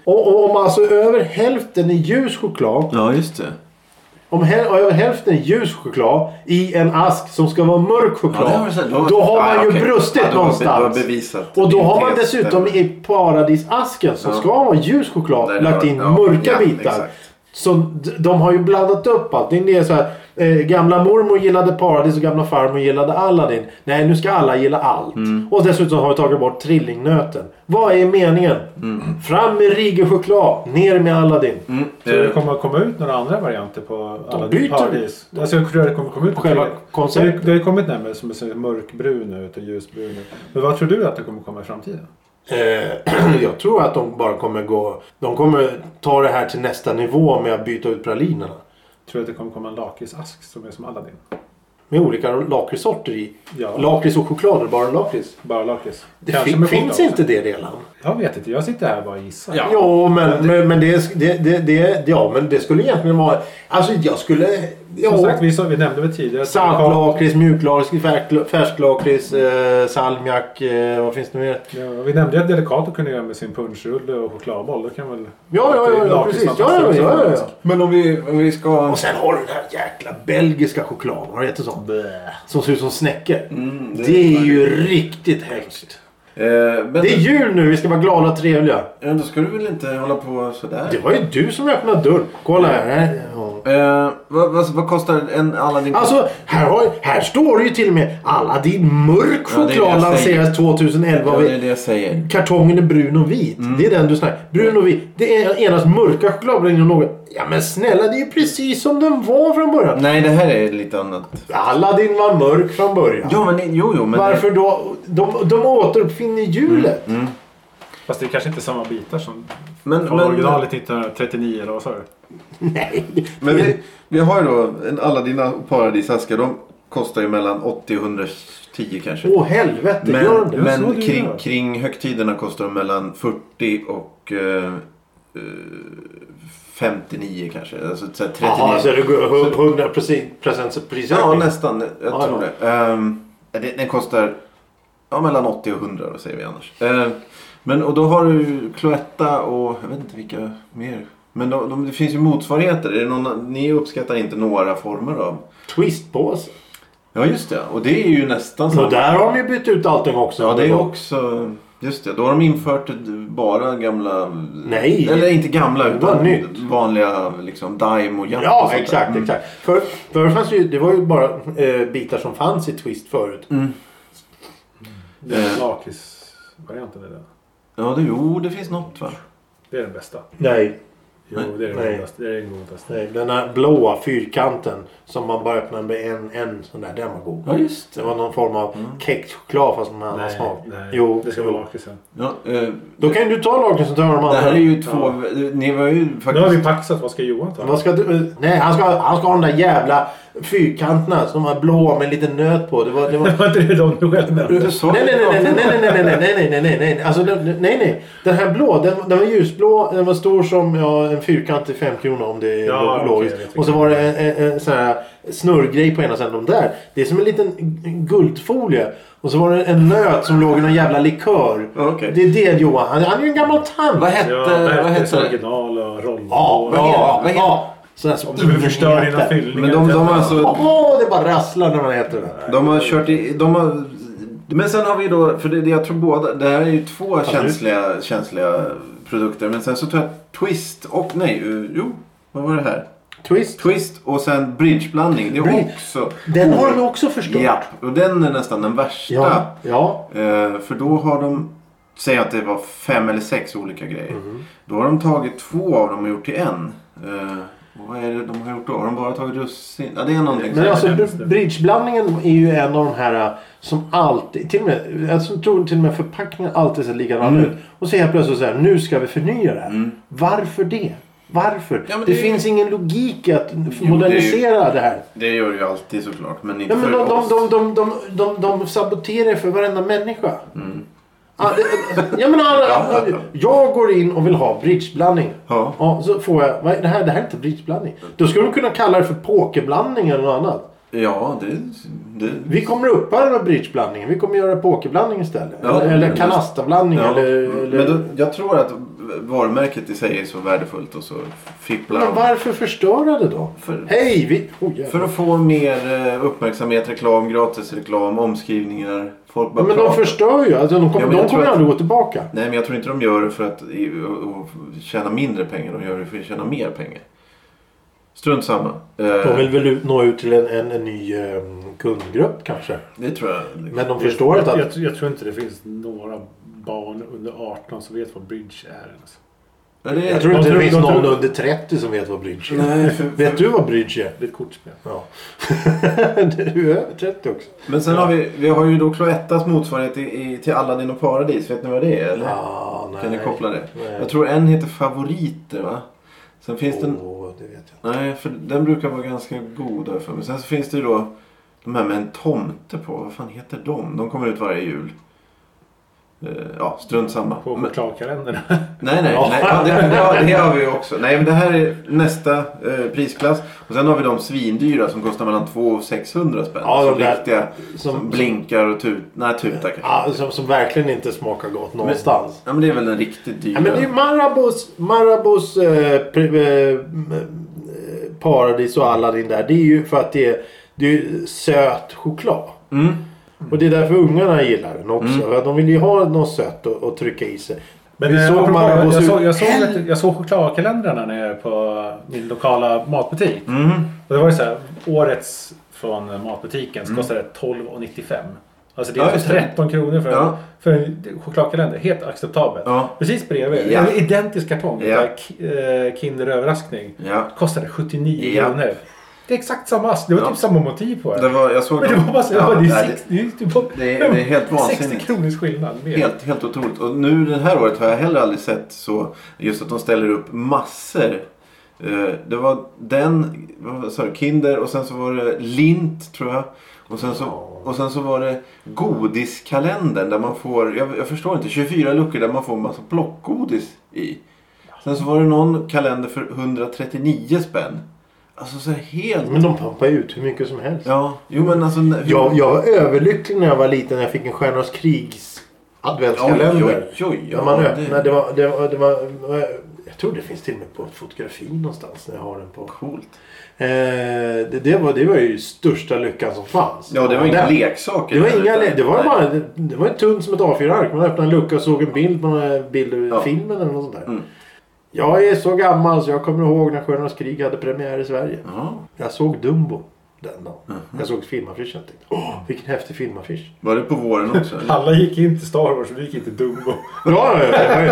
[SPEAKER 1] Och, och om alltså över hälften är ljus choklad
[SPEAKER 2] Ja, just det.
[SPEAKER 1] om häl- över hälften är ljus choklad i en ask som ska vara mörk choklad.
[SPEAKER 2] Ja, det har du sett. Då-
[SPEAKER 1] då har
[SPEAKER 2] Ah,
[SPEAKER 1] man ju
[SPEAKER 2] okej.
[SPEAKER 1] brustit
[SPEAKER 2] Ja, då har-
[SPEAKER 1] någonstans.
[SPEAKER 2] då har bevisat
[SPEAKER 1] och då
[SPEAKER 2] din
[SPEAKER 1] har man
[SPEAKER 2] tes
[SPEAKER 1] dessutom
[SPEAKER 2] stämmer.
[SPEAKER 1] i paradisasken som ska vara ljus choklad
[SPEAKER 2] Där det
[SPEAKER 1] lagt
[SPEAKER 2] var-
[SPEAKER 1] in
[SPEAKER 2] ja,
[SPEAKER 1] mörka
[SPEAKER 2] ja,
[SPEAKER 1] bitar.
[SPEAKER 2] exakt.
[SPEAKER 1] Så d- de har ju blandat upp allting. Det är så här, Eh, gamla mormor gillade Paradis och gamla farmor gillade Aladdin. Nej, nu ska alla gilla allt.
[SPEAKER 2] Mm.
[SPEAKER 1] Och dessutom har vi tagit bort trillingnöten. Vad är meningen?
[SPEAKER 2] Mm.
[SPEAKER 1] Fram med Rigel choklad, ner med Aladdin.
[SPEAKER 3] Så det
[SPEAKER 2] Eh,
[SPEAKER 3] kommer att komma ut några andra varianter på alla
[SPEAKER 1] byter.
[SPEAKER 3] paradis? Alltså jag tror att det kommer att komma ut på
[SPEAKER 1] Själva
[SPEAKER 3] tre.
[SPEAKER 1] konceptet.
[SPEAKER 3] Det har- Det har ju kommit nämligen som är mörkbrun ut och ljusbrun ut. Men vad tror du att det kommer att komma i framtiden?
[SPEAKER 1] Eh, <clears throat> jag tror att de bara kommer gå... De kommer ta det här till nästa nivå med att byta ut pralinerna.
[SPEAKER 3] Tror du att det kommer att komma en lakritsask som är som Aladdin?
[SPEAKER 1] Med olika lakritssorter i.
[SPEAKER 3] Ja.
[SPEAKER 1] Lakrits och choklad, eller bara lakrits.
[SPEAKER 3] Bara lakrits?
[SPEAKER 1] Det
[SPEAKER 3] Kanske
[SPEAKER 1] fin-
[SPEAKER 3] med
[SPEAKER 1] finns
[SPEAKER 3] choklad också.
[SPEAKER 1] inte det redan.
[SPEAKER 3] Jag vet inte, jag sitter här och bara gissar.
[SPEAKER 2] Ja.
[SPEAKER 1] Jo, men, men, men det, det, det, det, ja, men det skulle egentligen vara... Alltså jag skulle...
[SPEAKER 3] Som
[SPEAKER 1] Ja,
[SPEAKER 3] sagt, vi, sa, vi nämnde väl tidigare att
[SPEAKER 1] Saltlakrits, mjuklarkrits, färk- färsklakrits, eh, salmiak, eh, vad finns det mer?
[SPEAKER 3] Ja, vi nämnde ju att Delicato kunde göra med sin punschrulle och chokladboll. Då kan väl...
[SPEAKER 1] Ja, ja, ja, ja precis. Ja, ja, ja, ja, ja.
[SPEAKER 2] Men om vi, om vi ska...
[SPEAKER 1] Och sen har du den här jäkla belgiska chokladen, vad heter sån? Som ser ut som snäcke. det,
[SPEAKER 2] Mm, det
[SPEAKER 1] är ju riktigt hemskt.
[SPEAKER 2] Eh, men,
[SPEAKER 1] Det är jul nu, vi ska vara glada och trevliga.
[SPEAKER 2] Ja, då ska du väl inte hålla på sådär?
[SPEAKER 1] Det var ju du som öppnade dörren. Kolla här. Ja.
[SPEAKER 2] Eh, vad, vad, vad kostar en Aladdin?
[SPEAKER 1] Alltså, här, har, här står det ju till och med Aladdin mörk
[SPEAKER 2] Ja, det är det jag
[SPEAKER 1] choklad lanseras 2011.
[SPEAKER 2] ja, det är Mm. det jag säger.
[SPEAKER 1] Kartongen är brun och vit. Det är den du snackar Brun och vit. Det är endast mörka chokladbränningar och något. Ja men snälla, det är ju precis som den var från början.
[SPEAKER 2] Nej, det här är lite annat.
[SPEAKER 1] Aladdin var mörk från början.
[SPEAKER 2] Ja, men jo, jo, men...
[SPEAKER 1] Varför då? De, de återuppfinner hjulet.
[SPEAKER 3] Fast det är kanske inte samma bitar som
[SPEAKER 2] Men,
[SPEAKER 3] från
[SPEAKER 2] men-
[SPEAKER 3] originalet 1939 eller vad sa du?
[SPEAKER 1] Nej.
[SPEAKER 2] Men vi, vi har ju då en Aladdin och paradisaskar. De kostar ju mellan 80 och 110 kanske.
[SPEAKER 1] Åh helvete, gör
[SPEAKER 2] men
[SPEAKER 1] de det?
[SPEAKER 3] så
[SPEAKER 2] men
[SPEAKER 3] det
[SPEAKER 2] kring,
[SPEAKER 3] gör.
[SPEAKER 2] kring högtiderna kostar de mellan 40 och eh, eh, 59 kanske. Alltså så här 39.
[SPEAKER 1] Jaha, så det går upp 100 procents prisökning?
[SPEAKER 2] ja, nästan. Jag
[SPEAKER 1] Ja,
[SPEAKER 2] tror
[SPEAKER 1] ja.
[SPEAKER 2] det. Ehm, det. Den kostar ja, mellan 80 och 100 då säger vi annars. Ehm, men och då har du Cloetta och jag vet inte vilka mer. Men de, de, det finns ju motsvarigheter. Är det någon, ni uppskattar inte några former av
[SPEAKER 1] Twistpåse.
[SPEAKER 2] Ja just det, och det är ju nästan
[SPEAKER 1] Och
[SPEAKER 2] samma.
[SPEAKER 1] där har de ju bytt ut allting också.
[SPEAKER 2] Alltså- Ja det är också... Just det, då har de infört bara gamla...
[SPEAKER 1] Nej.
[SPEAKER 2] Eller inte gamla
[SPEAKER 1] Det var
[SPEAKER 2] utan
[SPEAKER 1] nytt.
[SPEAKER 2] vanliga liksom Daim och Japp och
[SPEAKER 1] Ja,
[SPEAKER 2] sånt där.
[SPEAKER 1] exakt.
[SPEAKER 2] Mm.
[SPEAKER 1] exakt. För, för fanns ju, det var ju bara eh, bitar som fanns i Twist förut.
[SPEAKER 3] Det är
[SPEAKER 2] Eh.
[SPEAKER 3] Lakritsvarianten är den.
[SPEAKER 2] Ja, det, jo det finns något va?
[SPEAKER 3] Det är den bästa.
[SPEAKER 1] Nej,
[SPEAKER 3] Jo, det är den
[SPEAKER 1] Nej.
[SPEAKER 3] godaste. Det är den godaste.
[SPEAKER 1] nej, den här blåa fyrkanten som man bara öppnar med en, en sån där. Den var god.
[SPEAKER 2] Ja just Mm.
[SPEAKER 1] Det var någon form av kexchoklad fast med annan smak.
[SPEAKER 3] nej.
[SPEAKER 1] Jo,
[SPEAKER 3] det ska
[SPEAKER 1] jo.
[SPEAKER 3] vara lakritsen.
[SPEAKER 2] Ja, eh,
[SPEAKER 1] Då kan ju du ta lakritsen och ta de
[SPEAKER 2] det här är
[SPEAKER 1] andra.
[SPEAKER 2] ju två... Ni var ju
[SPEAKER 3] Nu har vi
[SPEAKER 2] faktiskt...
[SPEAKER 3] paxat. Vad ska Johan ta?
[SPEAKER 1] Vad ska du, eh, nej, han ska, han ska ha de där jävla fyrkanterna som var blåa med en liten nöt på. Det var, det var,
[SPEAKER 3] <laughs> <laughs> Det var inte det de
[SPEAKER 1] <laughs>
[SPEAKER 3] du själv nämnde.
[SPEAKER 2] Du sa
[SPEAKER 1] Nej, nej, nej, nej, nej, nej, nej, nej, nej, nej, nej, nej, nej, alltså den- nej, nej. Den här blå, den, den var ljusblå, den var stor som ja, en fyrkant i fem kronor om det är
[SPEAKER 3] Ja,
[SPEAKER 1] lo-
[SPEAKER 3] okej,
[SPEAKER 1] logiskt.
[SPEAKER 3] jag vet
[SPEAKER 1] Och så var det en, en, en sån här snurrgrej på ena sidan. De där, det är som en liten guldfolie. Och så var det en nöt som låg i någon jävla likör.
[SPEAKER 2] Okej.
[SPEAKER 1] Det är det Johan, han, han är ju en gammal tant.
[SPEAKER 2] Vad
[SPEAKER 3] Ja,
[SPEAKER 2] hette...
[SPEAKER 3] det
[SPEAKER 2] vad hette
[SPEAKER 3] hette
[SPEAKER 2] det?
[SPEAKER 3] original och roll.
[SPEAKER 1] Ja,
[SPEAKER 2] vad heter-
[SPEAKER 1] ja,
[SPEAKER 2] vad heter-
[SPEAKER 1] ja. Sådär som
[SPEAKER 3] Om du vill
[SPEAKER 1] ingen
[SPEAKER 3] förstöra
[SPEAKER 1] äter.
[SPEAKER 3] dina fyllningar.
[SPEAKER 2] Men de, de har alltså...
[SPEAKER 1] Åh, det bara rasslar när man äter det.
[SPEAKER 2] De har kört i... De har... Men sen har vi då, för det, det jag tror båda, det här är ju två känsliga, känsliga produkter. Men sen så tror jag Twist och, nej, eh, jo, vad var det här?
[SPEAKER 1] Twist.
[SPEAKER 2] Twist och sen bridgeblandning. Det är
[SPEAKER 1] Bridge.
[SPEAKER 2] också...
[SPEAKER 1] Den har de också förstört.
[SPEAKER 2] Ja, och den är nästan den värsta.
[SPEAKER 1] Ja, ja.
[SPEAKER 2] Eh, för då har de, säg att det var fem eller sex olika grejer.
[SPEAKER 1] Mhm.
[SPEAKER 2] Då har de tagit två av dem och gjort till en. Eh, och vad är det de har gjort då? Har de bara tagit russin? Ja, det är någonting.
[SPEAKER 1] Men
[SPEAKER 2] sånt.
[SPEAKER 1] alltså
[SPEAKER 3] nämns det.
[SPEAKER 1] bridgeblandningen är ju en av de här äh, som alltid, till och med, alltså, jag tror till och med förpackningen alltid ser likadan ut. Och så helt plötsligt så här, nu ska vi förnya det här. Varför det? Varför?
[SPEAKER 2] Ja,
[SPEAKER 1] Mm. det
[SPEAKER 2] men det är ju-
[SPEAKER 1] finns ingen logik i att
[SPEAKER 2] ju-
[SPEAKER 1] modernisera det här.
[SPEAKER 2] Det gör det ju alltid såklart. Men inte
[SPEAKER 1] Ja, men
[SPEAKER 2] för
[SPEAKER 1] de, de,
[SPEAKER 2] oss.
[SPEAKER 1] de, de, de, de, de saboterar för varenda människa. Ja, det- Jag, menar, alla, jag går in och vill ha bridgeblandning.
[SPEAKER 2] Ja.
[SPEAKER 1] så får jag, vad är det här, det här är inte bridgeblandning. Då skulle de kunna kalla det för pokerblandning eller något annat.
[SPEAKER 2] Ja, det... det...
[SPEAKER 1] Vi kommer att upphöra med bridgeblandningen. Vi kommer att göra pokerblandning istället.
[SPEAKER 2] Ja,
[SPEAKER 1] eller eller
[SPEAKER 2] just-
[SPEAKER 1] kanastablandning.
[SPEAKER 2] Ja. Mm.
[SPEAKER 1] Eller, eller...
[SPEAKER 2] Men då, jag tror att varumärket i sig är så värdefullt och så fipplar
[SPEAKER 1] Men
[SPEAKER 2] de.
[SPEAKER 1] varför förstöra det då?
[SPEAKER 2] För-
[SPEAKER 1] Hej! Vi... Oh, jävlar.
[SPEAKER 2] För att få mer eh, uppmärksamhet, reklam, gratis reklam, omskrivningar. Folk bara
[SPEAKER 1] Men de
[SPEAKER 2] pratar.
[SPEAKER 1] förstör ju. Alltså, de
[SPEAKER 2] Ja,
[SPEAKER 1] kommer,
[SPEAKER 2] men jag
[SPEAKER 1] de
[SPEAKER 2] tror
[SPEAKER 1] kommer
[SPEAKER 2] att-
[SPEAKER 1] aldrig gå tillbaka.
[SPEAKER 2] Nej, men jag tror inte de eh, gör det för att i- och- och tjäna mindre pengar. De gör det för att tjäna mer pengar. Strunt samma.
[SPEAKER 1] De
[SPEAKER 2] Eh,
[SPEAKER 1] vill väl ut- nå ut till en, en, en ny eh, kundgrupp kanske.
[SPEAKER 2] Det tror jag.
[SPEAKER 1] Men de förstår inte
[SPEAKER 3] jag, jag,
[SPEAKER 1] att...
[SPEAKER 3] jag tror inte det finns några barn under 18 som vet vad bridge är. Alltså.
[SPEAKER 2] Ja, det är...
[SPEAKER 1] Jag tror
[SPEAKER 3] de
[SPEAKER 1] inte det
[SPEAKER 3] tror-
[SPEAKER 1] finns
[SPEAKER 3] de
[SPEAKER 1] någon
[SPEAKER 3] tror-
[SPEAKER 1] under 30 som vet vad bridge är.
[SPEAKER 2] Nej, för,
[SPEAKER 1] Vet du vad bridge är?
[SPEAKER 3] Det är ett kortspel.
[SPEAKER 1] Ja. <laughs> du är över 30 också.
[SPEAKER 2] Men sen har vi, vi har ju då Cloettas motsvarighet i, i, till Aladdin och Paradis. Vet ni vad det är? Eller?
[SPEAKER 1] Ah, nej.
[SPEAKER 2] kan ni koppla det?
[SPEAKER 1] Nej.
[SPEAKER 2] Jag tror en heter Favoriter va? Sen finns det... en-
[SPEAKER 1] Åh, det vet jag. inte.
[SPEAKER 2] Nej, för den brukar vara ganska god har jag för mig. Sen så finns det ju då de här med en tomte på. Vad fan heter de? De kommer ut varje jul. Eh, Ja, strunt samma.
[SPEAKER 3] På
[SPEAKER 2] Men-
[SPEAKER 3] chokladkalendern.
[SPEAKER 2] Nej, nej.
[SPEAKER 1] Ja.
[SPEAKER 2] nej. Ja, det, det, har, det har vi också. Nej, men det här är nästa eh, prisklass. Och sen har vi de svindyra som kostar mellan 200 och 600 spänn.
[SPEAKER 1] Ja, de
[SPEAKER 2] Alltså
[SPEAKER 1] där
[SPEAKER 2] riktiga som,
[SPEAKER 1] som-
[SPEAKER 2] blinkar och tut, nej, tutar kanske.
[SPEAKER 1] Ja, som, som verkligen inte smakar gott någonstans.
[SPEAKER 2] Ja, men det är väl den riktigt dyra.
[SPEAKER 1] Men, men det är ju Marabous, Marabous eh, pri, eh, m- eh, Paradis och Aladdin där. Det är ju för att det är, det är ju söt choklad.
[SPEAKER 2] Mm.
[SPEAKER 1] Och det är därför ungarna gillar den också. För att de vill ju ha något sött att, att trycka i sig. <laughs>
[SPEAKER 3] Men
[SPEAKER 1] Vi
[SPEAKER 3] eh,
[SPEAKER 1] såg
[SPEAKER 3] apropå,
[SPEAKER 1] Marabous
[SPEAKER 3] jag,
[SPEAKER 1] ut-
[SPEAKER 3] såg, jag, såg att, jag såg chokladkalendrarna när jag är på min lokala matbutik.
[SPEAKER 2] Mm.
[SPEAKER 3] Och det var ju så här, årets från eh, matbutiken så kostade det 12,95. Alltså det
[SPEAKER 2] Mm. Ja,
[SPEAKER 3] är alltså
[SPEAKER 2] just det.
[SPEAKER 3] 13 kronor för,
[SPEAKER 2] Ja.
[SPEAKER 3] för en chokladkalender. Helt acceptabelt.
[SPEAKER 2] Ja.
[SPEAKER 3] Precis bredvid.
[SPEAKER 2] Ja.
[SPEAKER 3] En identisk kartong.
[SPEAKER 2] Ja.
[SPEAKER 3] där Ki- eh, Kinderöverraskning.
[SPEAKER 2] Ja.
[SPEAKER 3] Kostade 79
[SPEAKER 2] Ja.
[SPEAKER 3] kronor. Det är exakt samma ask. Det var
[SPEAKER 2] Ja.
[SPEAKER 3] typ samma motiv på
[SPEAKER 2] Det
[SPEAKER 3] det.
[SPEAKER 2] var, jag såg
[SPEAKER 3] Men det
[SPEAKER 2] dem.
[SPEAKER 3] var bara så,
[SPEAKER 2] Ja,
[SPEAKER 3] ja, det, är
[SPEAKER 2] nej,
[SPEAKER 3] sex, det, är ju typ bara-
[SPEAKER 2] det är- det är
[SPEAKER 3] <laughs>
[SPEAKER 2] helt
[SPEAKER 3] 60
[SPEAKER 2] vansinnigt.
[SPEAKER 3] kronors skillnad. mer.
[SPEAKER 2] Helt, helt otroligt. Och nu det här året har jag heller aldrig sett så. Just att de ställer upp massor. Eh, Det var den, vad sa du, Kinder och sen så var det Lint tror jag. Och sen så, och sen så var det Godiskalendern där man får, jag, jag förstår inte, 24 luckor där man får en massa plockgodis i. Sen så var det någon kalender för 139 spänn. Alltså så här helt...
[SPEAKER 1] Men de pampar ju ut hur mycket som helst.
[SPEAKER 2] Ja, jo men alltså...
[SPEAKER 1] Jag, jag var överlycklig när jag var liten när jag fick en Stjärnornas krigs adventskalender.
[SPEAKER 2] Oj, oj, oj, ja,
[SPEAKER 1] Ja, man
[SPEAKER 2] det-
[SPEAKER 1] öppnar, det var, det var, det var, jag tror det finns till och med på ett fotografi någonstans när jag har den på.
[SPEAKER 2] Coolt.
[SPEAKER 1] Eh, det, det, var, det var ju största lyckan som fanns.
[SPEAKER 2] Ja, det var inga
[SPEAKER 1] Den-
[SPEAKER 2] leksaker.
[SPEAKER 1] Det var, inga,
[SPEAKER 2] utan-
[SPEAKER 1] le- det var
[SPEAKER 2] Nej.
[SPEAKER 1] bara det, det var tunt som ett A4-ark. Man öppnade en lucka och såg en bild på en bild ur
[SPEAKER 2] Ja.
[SPEAKER 1] filmen eller något sånt där.
[SPEAKER 2] Mm.
[SPEAKER 1] Jag är så gammal så jag kommer ihåg när Stjärnornas krig hade premiär i Sverige.
[SPEAKER 2] Ja.
[SPEAKER 1] Jag såg Dumbo den dagen.
[SPEAKER 2] Mm.
[SPEAKER 1] Jag såg filmaffischen och tänkte åh, vilken häftig filmaffisch.
[SPEAKER 2] Var det på våren <laughs> också? eller?
[SPEAKER 3] Alla gick in till Star Wars och vi gick in till Dumbo.
[SPEAKER 1] Ja, ja, ja, det var ju-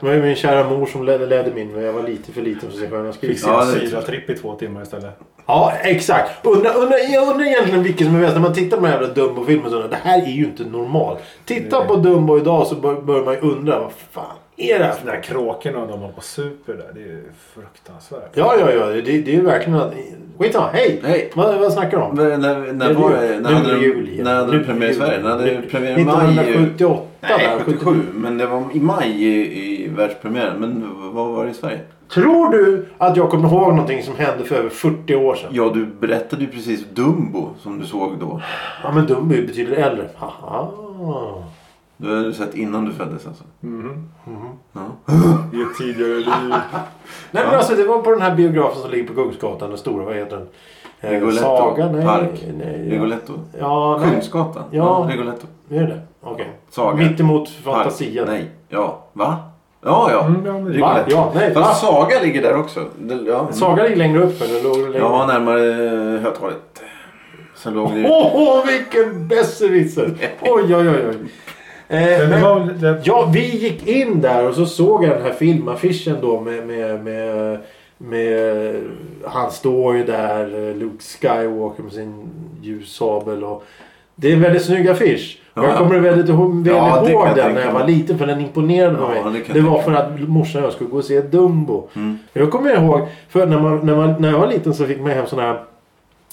[SPEAKER 1] det var ju min kära mor som ledde, ledde min. men Jag var lite för liten för att se Stjärnornas krig.
[SPEAKER 3] Fick sin
[SPEAKER 2] Ja, det-
[SPEAKER 3] syratripp i två timmar istället.
[SPEAKER 1] Ja, exakt. Undrar undra, jag undrar egentligen vilken som är bäst. När man tittar på den här jävla Dumbo-filmen så undrar jag, det här är ju inte normalt. Titta på Dumbo idag så bör, börjar man ju undra, vad fan är det här för
[SPEAKER 3] Den där kråkorna och de håller på och super där. Det är ju fruktansvärt.
[SPEAKER 1] Ja, ja, ja. Det, det är ju verkligen att... Skitsamma, hej!
[SPEAKER 2] Hej.
[SPEAKER 1] Vad, vad snackar du om?
[SPEAKER 2] När, när,
[SPEAKER 1] Det
[SPEAKER 2] när,
[SPEAKER 1] är
[SPEAKER 2] var,
[SPEAKER 1] jul.
[SPEAKER 2] det- när
[SPEAKER 1] Nu
[SPEAKER 2] hade
[SPEAKER 1] är det jul
[SPEAKER 2] de,
[SPEAKER 1] igen.
[SPEAKER 2] när hade
[SPEAKER 1] Nu
[SPEAKER 2] de
[SPEAKER 1] är
[SPEAKER 2] premiär i
[SPEAKER 1] det
[SPEAKER 2] Sverige?
[SPEAKER 1] jul.
[SPEAKER 2] När hade
[SPEAKER 1] Nu-
[SPEAKER 2] premiär i maj?
[SPEAKER 1] 1978
[SPEAKER 2] Nej,
[SPEAKER 1] där,
[SPEAKER 2] 77. Men det var i maj i, i världspremiären. Men vad var det i Sverige?
[SPEAKER 1] Tror du att jag kommer ihåg någonting som hände för över 40 år sedan?
[SPEAKER 2] Ja, du berättade ju precis Dumbo som du såg då.
[SPEAKER 1] Ja, men Dumbo är ju betydligt äldre. Haha.
[SPEAKER 2] Du hade du sett innan du föddes alltså.
[SPEAKER 3] I ett tidigare liv.
[SPEAKER 1] Nej, men alltså det var på den här biografen som ligger på Kungsgatan. Den stora, vad heter den? Eh,
[SPEAKER 2] Rigoletto
[SPEAKER 1] Saga? Nej.
[SPEAKER 2] Park.
[SPEAKER 1] nej ja.
[SPEAKER 2] Rigoletto.
[SPEAKER 1] ja, nej.
[SPEAKER 2] Kungsgatan.
[SPEAKER 1] Ja.
[SPEAKER 2] Rigoletto.
[SPEAKER 1] Det är det? Okej.
[SPEAKER 2] Saga.
[SPEAKER 1] Mitt emot
[SPEAKER 2] Park.
[SPEAKER 1] Fantasia.
[SPEAKER 2] Nej. Ja. Va? Ja, ja.
[SPEAKER 3] Mm, ja, men-
[SPEAKER 1] Va?
[SPEAKER 2] Rigoletto.
[SPEAKER 1] Ja, nej. Va?
[SPEAKER 2] Fast Saga ligger där också. Det- Ja,
[SPEAKER 1] Saga ligger längre upp eller låg det längre
[SPEAKER 2] jag var närmare eh, Hötorget. Sen låg det ju...
[SPEAKER 1] Åh, åh, vilken
[SPEAKER 2] <laughs>
[SPEAKER 1] besserwisser! Oj, oj, oj. oj. Eh,
[SPEAKER 3] Men det
[SPEAKER 1] men,
[SPEAKER 3] var väl
[SPEAKER 2] Eh,
[SPEAKER 3] det...
[SPEAKER 1] ja, vi gick in där och så såg jag den här filmaffischen då med... med, med med, han står ju där, eh, Luke Skywalker med sin ljussabel. Och, det är en väldigt snygg affisch. Och jag
[SPEAKER 2] Ja.
[SPEAKER 1] kommer väldigt ihå- väl
[SPEAKER 2] Ja, det kan
[SPEAKER 1] ihåg
[SPEAKER 2] jag
[SPEAKER 1] den
[SPEAKER 2] tänka
[SPEAKER 1] när jag
[SPEAKER 2] mig.
[SPEAKER 1] var liten för den imponerade på
[SPEAKER 2] Ja, det kan
[SPEAKER 1] mig.
[SPEAKER 2] jag
[SPEAKER 1] Det var
[SPEAKER 2] tänka
[SPEAKER 1] för att morsan och jag skulle gå och se Dumbo.
[SPEAKER 2] Mm.
[SPEAKER 1] Jag kommer ihåg, för när, man, när, man, när jag var liten så fick man hem sådana här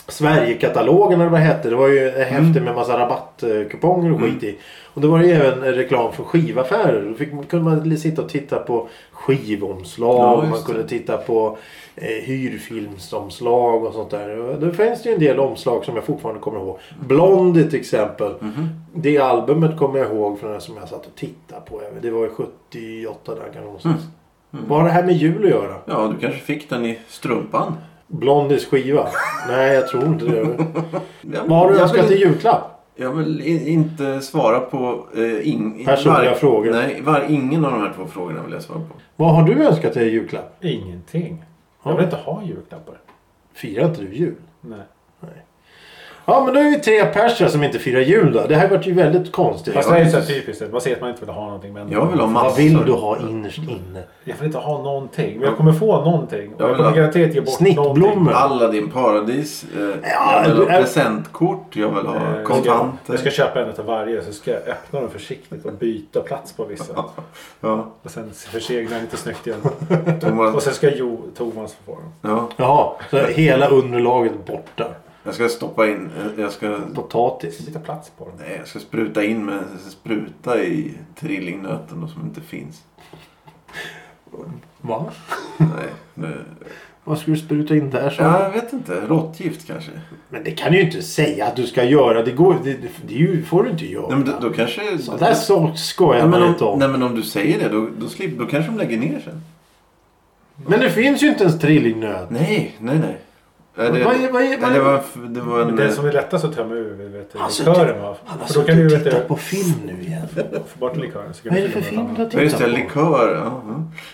[SPEAKER 1] Sverigekatalogen eller vad det hette. Det var ju ett
[SPEAKER 2] Mm.
[SPEAKER 1] häfte med massa rabattkuponger och skit i. Och då var det ju även reklam för skivaffärer. Då fick, man- kunde man sitta och titta på skivomslag.
[SPEAKER 2] Ja,
[SPEAKER 1] och man
[SPEAKER 2] just det.
[SPEAKER 1] kunde titta på eh, hyrfilmsomslag och sånt där. Och Då finns det ju en del omslag som jag fortfarande kommer ihåg. Blondie till exempel.
[SPEAKER 2] Mm-hmm.
[SPEAKER 1] Det albumet kommer jag ihåg från det som jag satt och tittade på. Det var ju 78 där kan någonstans.
[SPEAKER 2] Mm.
[SPEAKER 1] Vad har det här med jul att göra?
[SPEAKER 2] Ja, du kanske fick den i strumpan.
[SPEAKER 1] Blondies skiva?
[SPEAKER 2] <laughs>
[SPEAKER 1] Nej, jag tror inte det.
[SPEAKER 2] Jag,
[SPEAKER 1] Vad har du
[SPEAKER 2] jag
[SPEAKER 1] önskat i
[SPEAKER 2] vill,
[SPEAKER 1] julklapp?
[SPEAKER 2] Jag vill i- inte svara på... Eh, in,
[SPEAKER 1] Personliga frågor.
[SPEAKER 2] Nej, var, ingen av de här två frågorna vill jag svara på.
[SPEAKER 1] Vad har du önskat dig i julklapp?
[SPEAKER 3] Ingenting. Jag vill inte ha julklappar.
[SPEAKER 1] Firar inte du jul?
[SPEAKER 3] Nej.
[SPEAKER 1] Ja, men då är vi tre perser som inte firar jul då. Det här vart ju väldigt konstigt.
[SPEAKER 3] Fast det är ju så här typiskt. Man ser att man inte vill ha någonting. Men
[SPEAKER 2] Jag vill ha massor.
[SPEAKER 1] Vad vill du ha innerst inne?
[SPEAKER 3] Jag vill inte ha någonting. Men jag kommer få någonting. Och
[SPEAKER 2] Jag
[SPEAKER 3] jag
[SPEAKER 2] vill
[SPEAKER 3] kommer
[SPEAKER 2] ha-
[SPEAKER 3] garanterat ge bort någonting.
[SPEAKER 1] Snittblommor.
[SPEAKER 2] Aladdin paradis. Eh,
[SPEAKER 1] Ja,
[SPEAKER 2] jag vill ha
[SPEAKER 1] du är-
[SPEAKER 2] presentkort. Jag vill
[SPEAKER 3] Eh,
[SPEAKER 2] ha
[SPEAKER 3] jag ska-
[SPEAKER 2] kontanter.
[SPEAKER 3] Jag ska köpa en av varje så ska jag öppna dem försiktigt och byta plats på vissa.
[SPEAKER 2] Ja,
[SPEAKER 3] Och sen försegla den lite snyggt igen. Och
[SPEAKER 2] Thomas,
[SPEAKER 3] sen ska jo, Thomas få dem.
[SPEAKER 2] ja,
[SPEAKER 1] Jaha, så hela underlaget borta.
[SPEAKER 2] jag ska stoppa in. eh, Jag ska,
[SPEAKER 1] Potatis.
[SPEAKER 3] Byta plats på dem.
[SPEAKER 2] nej, jag ska spruta in med en spruta i trillingnöten och som inte finns.
[SPEAKER 1] Va?
[SPEAKER 2] Nej, nu.
[SPEAKER 1] Vad ska du spruta in där så?
[SPEAKER 2] Ja, jag vet inte. Råttgift kanske.
[SPEAKER 1] Men det kan du ju inte säga att du ska göra. Det, går, det, det, det är ju- får du inte göra.
[SPEAKER 2] Nej, men då, då kanske...
[SPEAKER 1] Sådär sak skojar
[SPEAKER 2] nej,
[SPEAKER 1] man
[SPEAKER 2] men
[SPEAKER 1] inte
[SPEAKER 2] om,
[SPEAKER 1] om.
[SPEAKER 2] nej, men om du säger det då, då, slip, då kanske de lägger ner sen.
[SPEAKER 1] Men det finns ju inte ens trillingnöt.
[SPEAKER 2] Nej, nej, nej. Är
[SPEAKER 1] Vad är- vad är- vad
[SPEAKER 2] nej,
[SPEAKER 1] är-
[SPEAKER 2] det var, en f- det var en...
[SPEAKER 3] Men den som är lättast att tömma ur vet du,
[SPEAKER 1] Alltså,
[SPEAKER 2] typ-
[SPEAKER 3] likören va?
[SPEAKER 1] Han har
[SPEAKER 3] För då kan du
[SPEAKER 1] suttit och
[SPEAKER 3] vet
[SPEAKER 1] tittat
[SPEAKER 3] du,
[SPEAKER 1] på film nu igen.
[SPEAKER 3] få bort likören. Så kan
[SPEAKER 1] Vad är
[SPEAKER 3] du
[SPEAKER 1] det för
[SPEAKER 3] få
[SPEAKER 1] film
[SPEAKER 3] något
[SPEAKER 1] du har
[SPEAKER 3] annat.
[SPEAKER 2] Ja, just det.
[SPEAKER 1] tittat på?
[SPEAKER 2] Likör. Ja,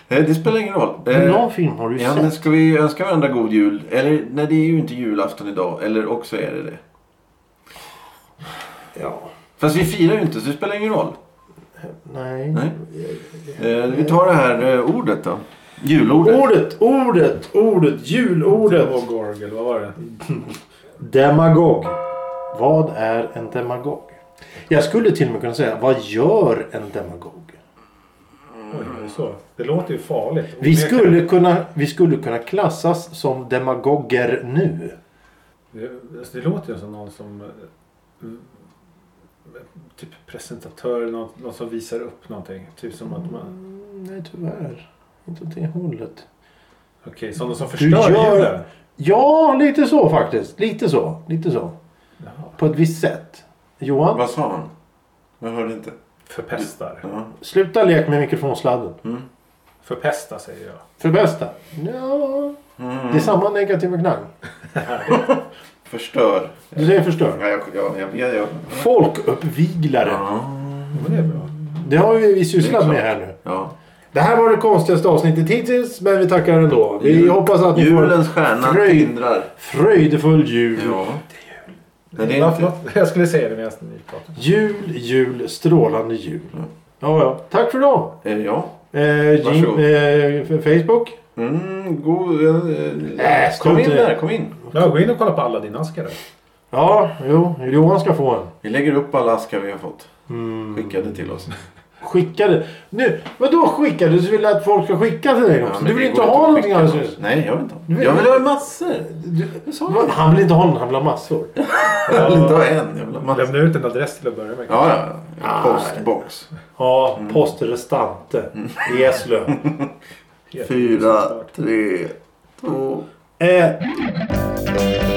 [SPEAKER 2] ja. Eh, Det spelar ingen roll. Eh,
[SPEAKER 1] Hur Någon film har du
[SPEAKER 2] Ja, men
[SPEAKER 1] sett.
[SPEAKER 2] ska vi önska varandra god jul? Eller nej, det är ju inte julafton idag. Eller också är det det.
[SPEAKER 1] Ja.
[SPEAKER 2] Fast vi firar ju inte så det spelar ingen roll.
[SPEAKER 1] Nej.
[SPEAKER 2] Nej. Eh, vi tar det här eh, ordet då. Julordet.
[SPEAKER 1] Ordet, ordet, ordet, julordet.
[SPEAKER 3] Demogorg eller vad var det?
[SPEAKER 1] Demagog. Vad är en demagog? Jag skulle till och med kunna säga, vad gör en demagog?
[SPEAKER 3] Oj, var det så? Det låter ju farligt.
[SPEAKER 1] Vi skulle kunna, vi skulle kunna klassas som demagoger nu.
[SPEAKER 3] Det, alltså, det låter ju som någon som... eh, mm, Typ presentatör eller någon, någon som visar upp någonting. Typ som att man...
[SPEAKER 1] Nej, tyvärr. Inte åt det hållet.
[SPEAKER 3] Okej, sådana som förstör
[SPEAKER 1] gör-
[SPEAKER 3] julen.
[SPEAKER 1] Ja, lite så faktiskt. Lite så. Lite så.
[SPEAKER 3] Jaha.
[SPEAKER 1] På ett visst sätt. Johan,
[SPEAKER 2] Vad sa han? Jag hörde inte.
[SPEAKER 3] Förpestar.
[SPEAKER 2] Ja.
[SPEAKER 1] sluta lek med mikrofonsladden.
[SPEAKER 3] Förpesta säger jag.
[SPEAKER 1] För bästa. Ja.
[SPEAKER 2] Mm,
[SPEAKER 1] Det är samma negativa knang.
[SPEAKER 2] Förstör.
[SPEAKER 1] Du säger
[SPEAKER 2] Ja,
[SPEAKER 1] förstör.
[SPEAKER 2] jag, jag, jag, jag, jag.
[SPEAKER 1] Folkuppviglare.
[SPEAKER 2] Ja.
[SPEAKER 3] Ja, Men det är bra.
[SPEAKER 1] Det har vi, vi
[SPEAKER 2] Det är
[SPEAKER 1] sysslat
[SPEAKER 2] klart.
[SPEAKER 1] med här nu.
[SPEAKER 2] Ja.
[SPEAKER 1] Det här var det konstigaste avsnittet hittills, men vi tackar ändå. Vi
[SPEAKER 2] Jul-
[SPEAKER 1] hoppas att ni
[SPEAKER 2] Julens
[SPEAKER 1] får en
[SPEAKER 2] stjärna
[SPEAKER 1] fröjd,
[SPEAKER 2] tindrar.
[SPEAKER 1] fröjdefull jul.
[SPEAKER 2] Ja. Nej, det är
[SPEAKER 3] Ja,
[SPEAKER 2] inte.
[SPEAKER 3] förlåt. Jag skulle säga det medan ni pratade.
[SPEAKER 1] Jul, jul, strålande jul. Ja, ja. Tack för idag.
[SPEAKER 2] Är det jag?
[SPEAKER 1] Eh, Jim,
[SPEAKER 2] Varsågod.
[SPEAKER 1] eh, f- Facebook.
[SPEAKER 2] Mm, god... eh,
[SPEAKER 1] Äh,
[SPEAKER 2] kom in
[SPEAKER 1] strunt i det.
[SPEAKER 2] där, kom in.
[SPEAKER 3] Ja, gå in och kolla på alla dina askar. där.
[SPEAKER 1] Ja, jo. Johan ska få en.
[SPEAKER 2] Vi lägger upp alla askar vi har fått. Skickade till oss.
[SPEAKER 1] Skickade. Nu, vadå skickade? Du vill att folk ska skicka till dig
[SPEAKER 2] Ja,
[SPEAKER 1] också?
[SPEAKER 2] men
[SPEAKER 1] du vill
[SPEAKER 2] det
[SPEAKER 1] inte
[SPEAKER 2] går
[SPEAKER 1] ha
[SPEAKER 2] att
[SPEAKER 1] någonting
[SPEAKER 2] skicka
[SPEAKER 1] alldeles
[SPEAKER 2] något.
[SPEAKER 1] nyss.
[SPEAKER 2] Nej, jag vill inte ha.
[SPEAKER 1] Du-
[SPEAKER 2] Jag vill ha massor.
[SPEAKER 1] Du-
[SPEAKER 2] Jag sa
[SPEAKER 1] Va?
[SPEAKER 2] det.
[SPEAKER 1] Han vill inte ha någon, han vill ha massor.
[SPEAKER 2] Jag vill inte ha en. Jag vill ha massor.
[SPEAKER 3] Lämna ut en adress till att börja med.
[SPEAKER 2] Ja, ja. ja. Postbox.
[SPEAKER 1] Ja, postrestante i Eslöv.
[SPEAKER 3] Helt
[SPEAKER 2] Fyra,
[SPEAKER 3] ofattbart.
[SPEAKER 2] tre, två...
[SPEAKER 1] eh,